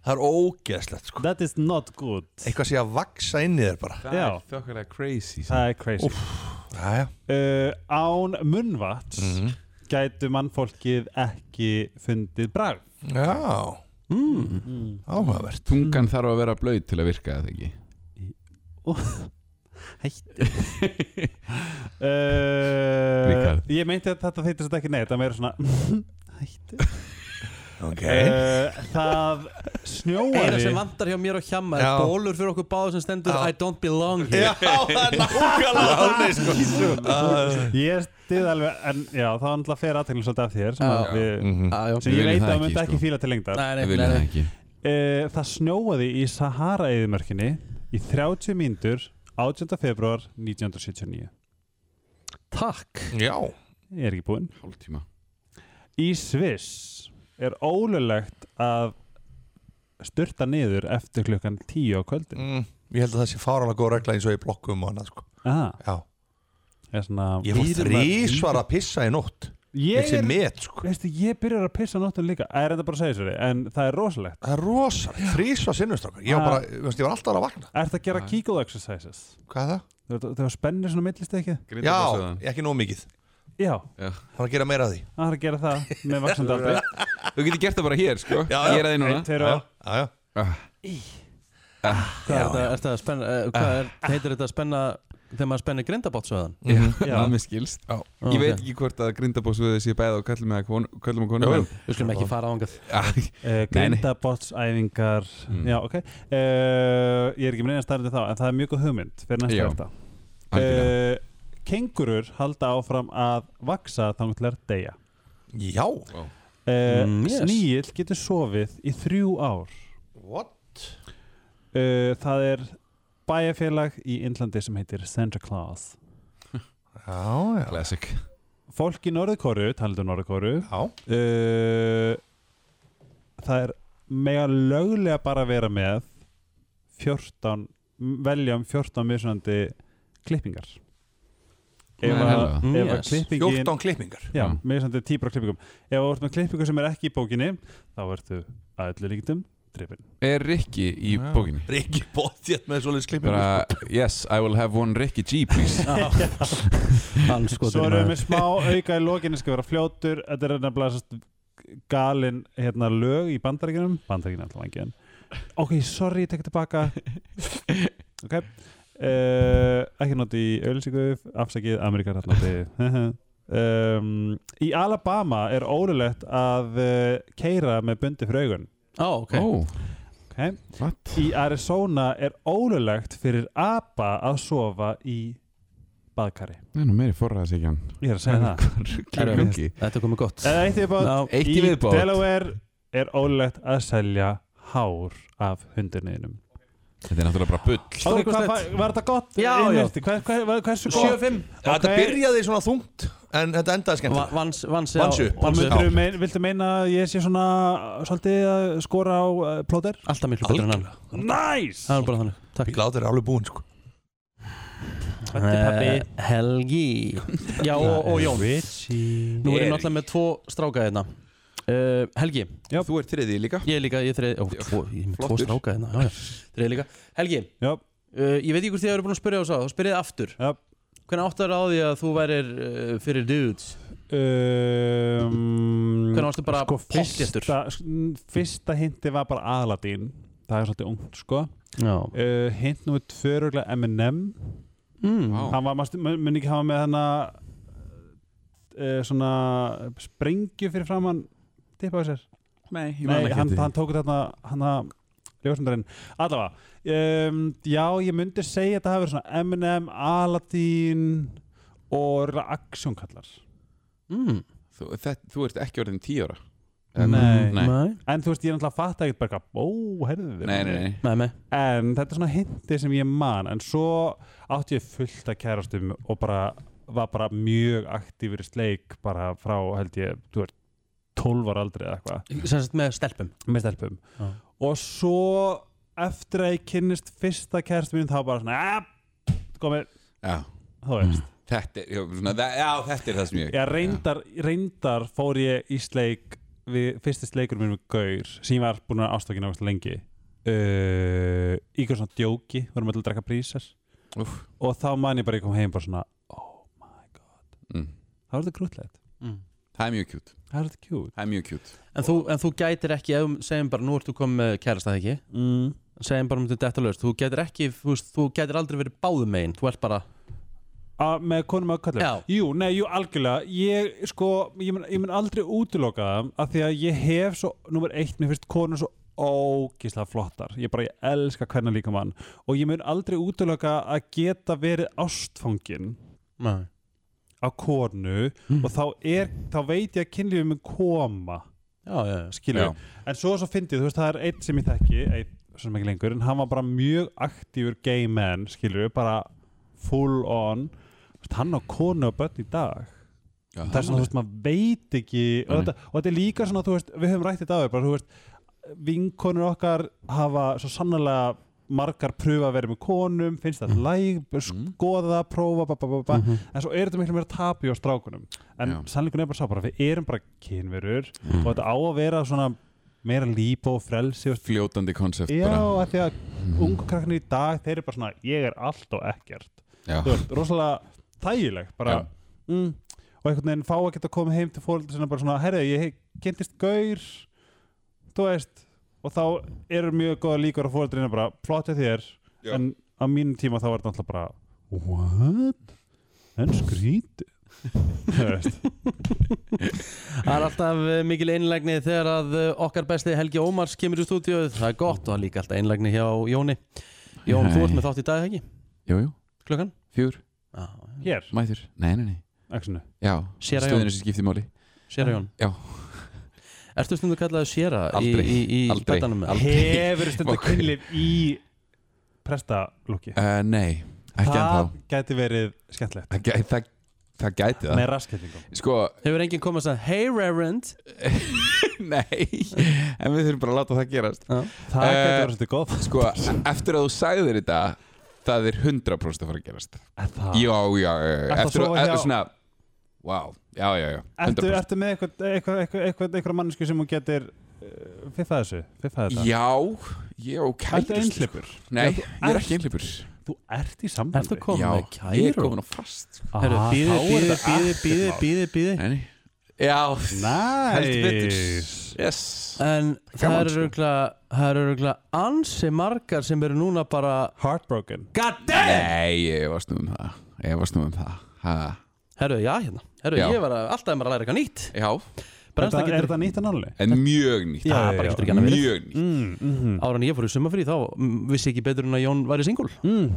H: Það er ógeðslegt sko.
J: That is not good
H: Eitthvað sé að vaksa inn í þér bara
J: Það er Já.
L: þokkalega crazy sko.
J: það er crazy
H: Jæja. Mhm.
J: uh, án munnvats gætu mannfólkið ekki fundið bragð
H: Já
L: mm.
H: Áhugavert
L: Tungan þarf að vera blöyt til að virka það ekki
J: Hætti
L: Ríkharð.
J: Eh, Ég meinti að þetta þýttist ekki neitt Það meira svona Hætti
H: Ok
J: uh, Það
A: Eina
J: snjóaði
A: sem vantar hjá mér og hjamma er
J: Já.
A: bólur fyrir okkur báður sem stendur I don't belong here
J: Já, það er nákvæmlega þannig, sko.
A: sko
J: Ég stið alveg, en já, það var náttúrulega fyrir aðteglum svolítið af þér sem,
A: Já.
J: að við,
A: Mhm. Já, já.
J: sem
A: Við
J: ég
A: viljum
J: veit
A: það
J: að
A: ekki,
J: myndi
A: sko.
J: ekki fíla til lengdar
A: Nei, nei, Við viljum nei, það nei. ekki.
J: Eh, Það snjóaði í Sahara-eðimörkinni í 30 mínútur 18. februar 1979
A: Takk
H: Já
J: Ég er ekki búinn
L: Hálftíma
J: Í Sviss er ólulegt að styrta niður eftir klukkan 10 á kvöldin
H: mm. Ég held að það sé fáralega góð regla eins og í blokkum og annað sko.
J: Aha.
H: Já
J: Ég, svona,
H: Ég fór þrísvar að pissa í nótt
J: Ég
H: Þessi
J: er,
H: met, sko.
J: veistu, ég byrjar að pissa á nóttum líka Það er enda bara að segja sér En það er rosalegt
H: Það er rosalegt, þrísvar sinnustrákar Ég var bara, þú veist, ég var alltaf að vakna
J: Ertu að gera kíkóð exercises?
H: Hvað er það?
J: Þegar spennir svona millist ekki?
H: Já, ekki nóg mikið
J: Já
H: Það er að gera meira af því
J: Það er að gera það með vaksandi aldrei
L: Þú getur gert það bara hér sko
H: Já, já.
L: Ég er að því núna
J: Einn, tveir og-
H: Já,
L: já
J: Ah.
L: Ah,
A: Hvað er þetta- er þetta að spenna eh, Hvað er, heitir þetta að spenna þegar maður spennir grindabátsveðan
L: Já, það mér skilst
A: Já.
L: Ég veit ekki hvort að grindabósviði sé bæða og kallum með kallum og konum
A: Jú, jú. Við skulum ekki fara ángað
J: Eh, Grindabotsæfingar
L: Mm.
H: Mm.
J: Já, ok uh, Ég er ekki með neina starfandi þá En það er mjög góð hugmynd fyrir
L: Já.
J: næsta þetta uh, Kengurur halda áfram að vaksa þangtlar deyja Eh,
H: Já
L: uh,
H: Mm, yes.
J: Sníill getur sofið í þrjú ár
H: What?
J: Uh, það er bæjarfélag í Indlandi sem heitir Santa Claus
H: Já, já
L: Classic
J: Fólk í Norðkóru, talandu Norðkóru
H: Já
J: uh, Það er mega löglega bara vera með 14, velja um 14 mismunandi klippingar Ef
H: Nei,
J: að
H: hella.
J: ef að
H: Yes.
J: klippingin
H: 14 klippingar.
J: Já,
H: Já.
J: mismunandi típar af klippingum Ef þú ert með klippingu sem er ekki í bókinni þá ertu að öllu líktum drifin
L: Er Rikki í
J: Já.
L: bókinni?
H: Rikki bóttið með svolítið klippingu
L: Bara, yes, I will have one Rikki G please
J: Svo erum við með smá auka í lokinni skal vera fljótur, þetta er nefnilega sest, galin hérna, lög í bandaríkinum bandaríkinu alltaf langiðan Ok, sorry, ég tek tilbaka Ok uh, Ekki noti í auðlýsingu afsakið, Ameríkar hérna noti um, Í Alabama er ólulegt að uh, keira með bundi fyrir augun
A: Á, oh, ok
L: Ó.
J: okay. Í Arizona er ólulegt fyrir apa að sofa í baðkari
L: Nei, nú meiri forraðis ekki hann
J: Ég er að segja það.
L: Hvað er gangi?
A: Þetta er komið gott
J: Eða eitt í viðbót
L: Eitt í viðbót.
J: Í Delaware er ólegt að selja hár af hundurniðinum
L: Þetta er náttúrulega bara bull
J: Ok, hvað, var, var þetta gott?
A: Já, já.
J: innvirti? Hvað, hvað, hvað, hversu gott?
A: 7-5.
H: Já, Þetta byrjaði svona þungt En þetta endaði skemmt
A: Va- vans- vansi á-
H: Vansu
A: vansi
H: Vansu
A: á.
J: Viltu meina, viltu meina að ég sé svona svolítið að skora á uh, plóter?
A: Alltaf miklu betur en hann
J: Næs!
A: Það er bara þannig Takk
H: Glátur er alveg búinn sko
A: Eh, Helgi Já og, og Jón Nú erum við
L: Erik.
A: náttúrulega með tvo stráka hérna uh, Helgi
J: já.
L: Þú ert þriði líka
A: Ég er líka, ég er þriði ó, tvo, Ég er með tvo
L: Flottur.
A: stráka hérna já, já. Þriði líka Helgi Eh,
J: uh,
A: Ég veit ekki hvort þið eru búin að spyrja á það Þá spyrja þið aftur
J: já.
A: Hvernig áttar á því að þú værir uh, fyrir dudes?
J: Um,
A: Hvernig varstu bara
J: sko,
A: pottþéttur?
J: fyrsta, sk- fyrsta hindi var bara Aladin Það er svolítið ungt sko
A: Já.
J: uh, Hint nú er tvöruglega M&M
A: mm.
J: hann var, manstu- mun mun ekki hafa með hann uh, svona sprengju fyrir fram hann tippa á sér
M: Nei, ég man
J: Nei
M: ekki
J: hann,
M: eftir því.
J: hann tók þetta hann að ljósmyndarinn allavega, um, já ég myndi segja að þetta hafi verið svona Eminem, Aladdin og aksjónkallar
A: mm.
L: þú, það, þú ert ekki orðin tíu ára
J: Nei.
L: Nei.
J: En þú veist, ég er náttúrulega að fatta ekkert bara eitthvað, ó, herðu þið
L: Nei, nei, nei.
J: En þetta er svona hindi sem ég man En svo átti ég fullt að kærastum Og bara, var bara mjög aktífur í sleik Bara frá, held ég, þú veist 12 ára aldrei eða eitthvað
A: Sannst með stelpum
J: Með stelpum
A: Já.
J: Og svo eftir að ég kynnist fyrsta kærastum minn Þá bara svona, "Ah, komið
L: Já. Mm.
J: Þú veist
L: þetta, er- já, svona, það, já, þetta er það sem ég
J: Já, reyndar, reyndar fór ég í sleik við, fyrsti sleikur minn við Gaur sem ég var búin að ástakina ákvæmst lengi uh, í hverjum svona djóki vorum öll að drekka prísar
L: Úff.
J: og þá man ég bara ég kom heim bara svona oh my god
L: Mm.
J: það var þetta grútlegt
L: það er mjög kjút
J: það er þetta kjút
L: það er mjög kjút
A: En þú, en þú gætir ekki, ef, segjum bara, nú ert þú komið með kærasta það ekki
J: mm.
A: Segjum bara um þetta detta löst Þú gætir ekki, þú, veist, þú gætir aldrei verið báðum megin Þú ert bara
J: að með konum að kallum
A: Já.
J: jú, nei, jú, algjörlega ég, sko, ég mun, ég mun aldrei útiloka það af því að ég hef svo, nummer eitt mér finnst konur svo ógíslega flottar ég bara, ég elska hvernig líka mann og ég mun aldrei útiloka að geta verið ástfangin
A: Nei. Mm.
J: á konu og þá er, þá veit ég að kynlífið mun koma
A: já, já,
J: skilur
L: Já.
J: en svo svo fyndið, þú veist, það er einn sem ég þekki einn sem ekki lengur, en hann var bara mjög aktífur gay man, skilur bara full on Þú veist, hann á konu og börn í dag
L: Já,
J: það er svona, þú veist, maður veit ekki og
L: Nei.
J: þetta, og þetta er líka svona, þú veist, við höfum rætt þetta á þér bara, þú veist, vinkonur okkar hafa svo sannlega margar pröfa að vera með konum, finnst
L: Mhm.
J: það læg, skoða það, prófa ba, ba, ba, ba. en svo er þetta miklu meira tabu á strákunum en sannleikunum er bara sá bara við erum bara kynverur
L: Mhm.
J: og þetta á að vera svona meira líp og frelsi og
L: fljótandi konsept
J: Já,
L: bara Mhm.
J: af því að ungu krakkarnir í dag þeir eru bara svona, ég er allt og ekkert
L: Já.
J: þú veist, rosalega þægileg bara, mm, og einhvern veginn fá að geta komið heim til fólk sem bara svona, herri, ég kynntist gaur þú veist og þá eru mjög góða líkur að fóreldrinu bara flotta þér,
L: Já.
J: en á mínum tíma þá var þetta náttúrulega bara what? en skrít þú veist
A: Það er alltaf eh, mikil einlægni þegar að eh, okkar besti Helgi Ómars kemur í stúdíu Það er gott og það er líka alltaf einlægni hjá Jóni Jón, þú ert
L: Nei.
A: með þátt í dag, ekki?
L: jú, jú.
A: Klukkan? Ah,
L: fjúr
J: hér
L: mætur nei, nei, nei
J: Exinu.
L: já
A: Séra Jón.
L: stöðinu sem skiptir máli
A: Séra Jón
L: já
A: Ertu stundu kallaðu Sera
L: Aldrei,
A: í, í, í
L: aldrei,
A: betanum?
L: aldrei.
J: hefur stundið kynlif í prestalúki
L: uh, nei ekki
J: það
L: ennþá.
J: gæti verið skemmtilegt
L: það, gæ- það, það gæti það
J: Með rasskyllingum.
L: sko
A: hefur enginn komið að segja hey reverend
L: nei en við þurfum bara að láta það gerast
J: það
L: Eh,
J: gæti verið svolítið góð
L: sko eftir að þú sagðir þetta það er 100% að fara að gerast
J: það?
L: já já, já, já.
J: Ertu að
L: eftir að
J: sofa
L: eftir
J: hjá-
L: svona wow já já já
J: Ertu,
L: 100%.
J: ertu með eitthvað, eitthvað, eitthvað, eitthvað, eitthvað mannesku sem hún getur uh, fiffa þessu? Fiffa þetta?
L: Já, já, kærustu
J: Ertu einhleipur?
L: sko. Nei,
J: Já, þú
L: ég er
J: ert-
L: ekki einhleipur
J: Þú ert í sambandi?
L: Ertu komin Já, með kæru? ég er komin á fast, sko.
J: Ah,
L: Herru,
J: þá
L: bíðið,
J: er
L: bíðið,
J: þetta
L: bíðið,
J: ekkert
L: bíðið,
J: mál.
A: bíðið, bíðið
L: Já,
J: Nice.
L: heldur betur yes.
A: En það
L: Gaman,
A: eru
L: sko.
A: örugglega- það eru örugglega ansi margar sem eru núna bara
J: Heartbroken
A: God damn!
L: Nei, ég var snúið um það Ég var snúið um það ha.
A: Herru, já, hérna Herru,
L: Já.
A: ég var að, alltaf er maður að læra eitthvað nýtt
L: Já
A: Brensla
J: Er þetta- er
A: getur
J: þetta nýtt að náli?
L: En mjög nýtt
A: Já,
L: já,
A: bara
L: já.
A: getur ekki annað verið
L: Mjög nýtt
J: mm, mm -hmm.
A: Áran ég fór í sumafrí þá mm, vissi ekki betur en að Jón væri singul
J: mm.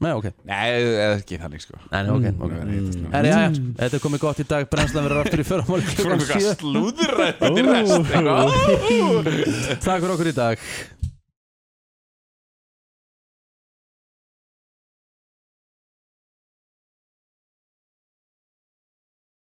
A: Nei, ok
L: Nei, það er ekki þannig sko
A: Nei, nei, ok,
L: Mm.
A: ok.
L: Nei, þetta er svona-
A: Herri, já,
J: Mm.
A: þetta er komið gott í dag Brenslan verður aftur í förramáli
L: Svo erum við eitthvað slúðurrætt út í rest, eitthvað.
A: Takk fyrir okkur í dag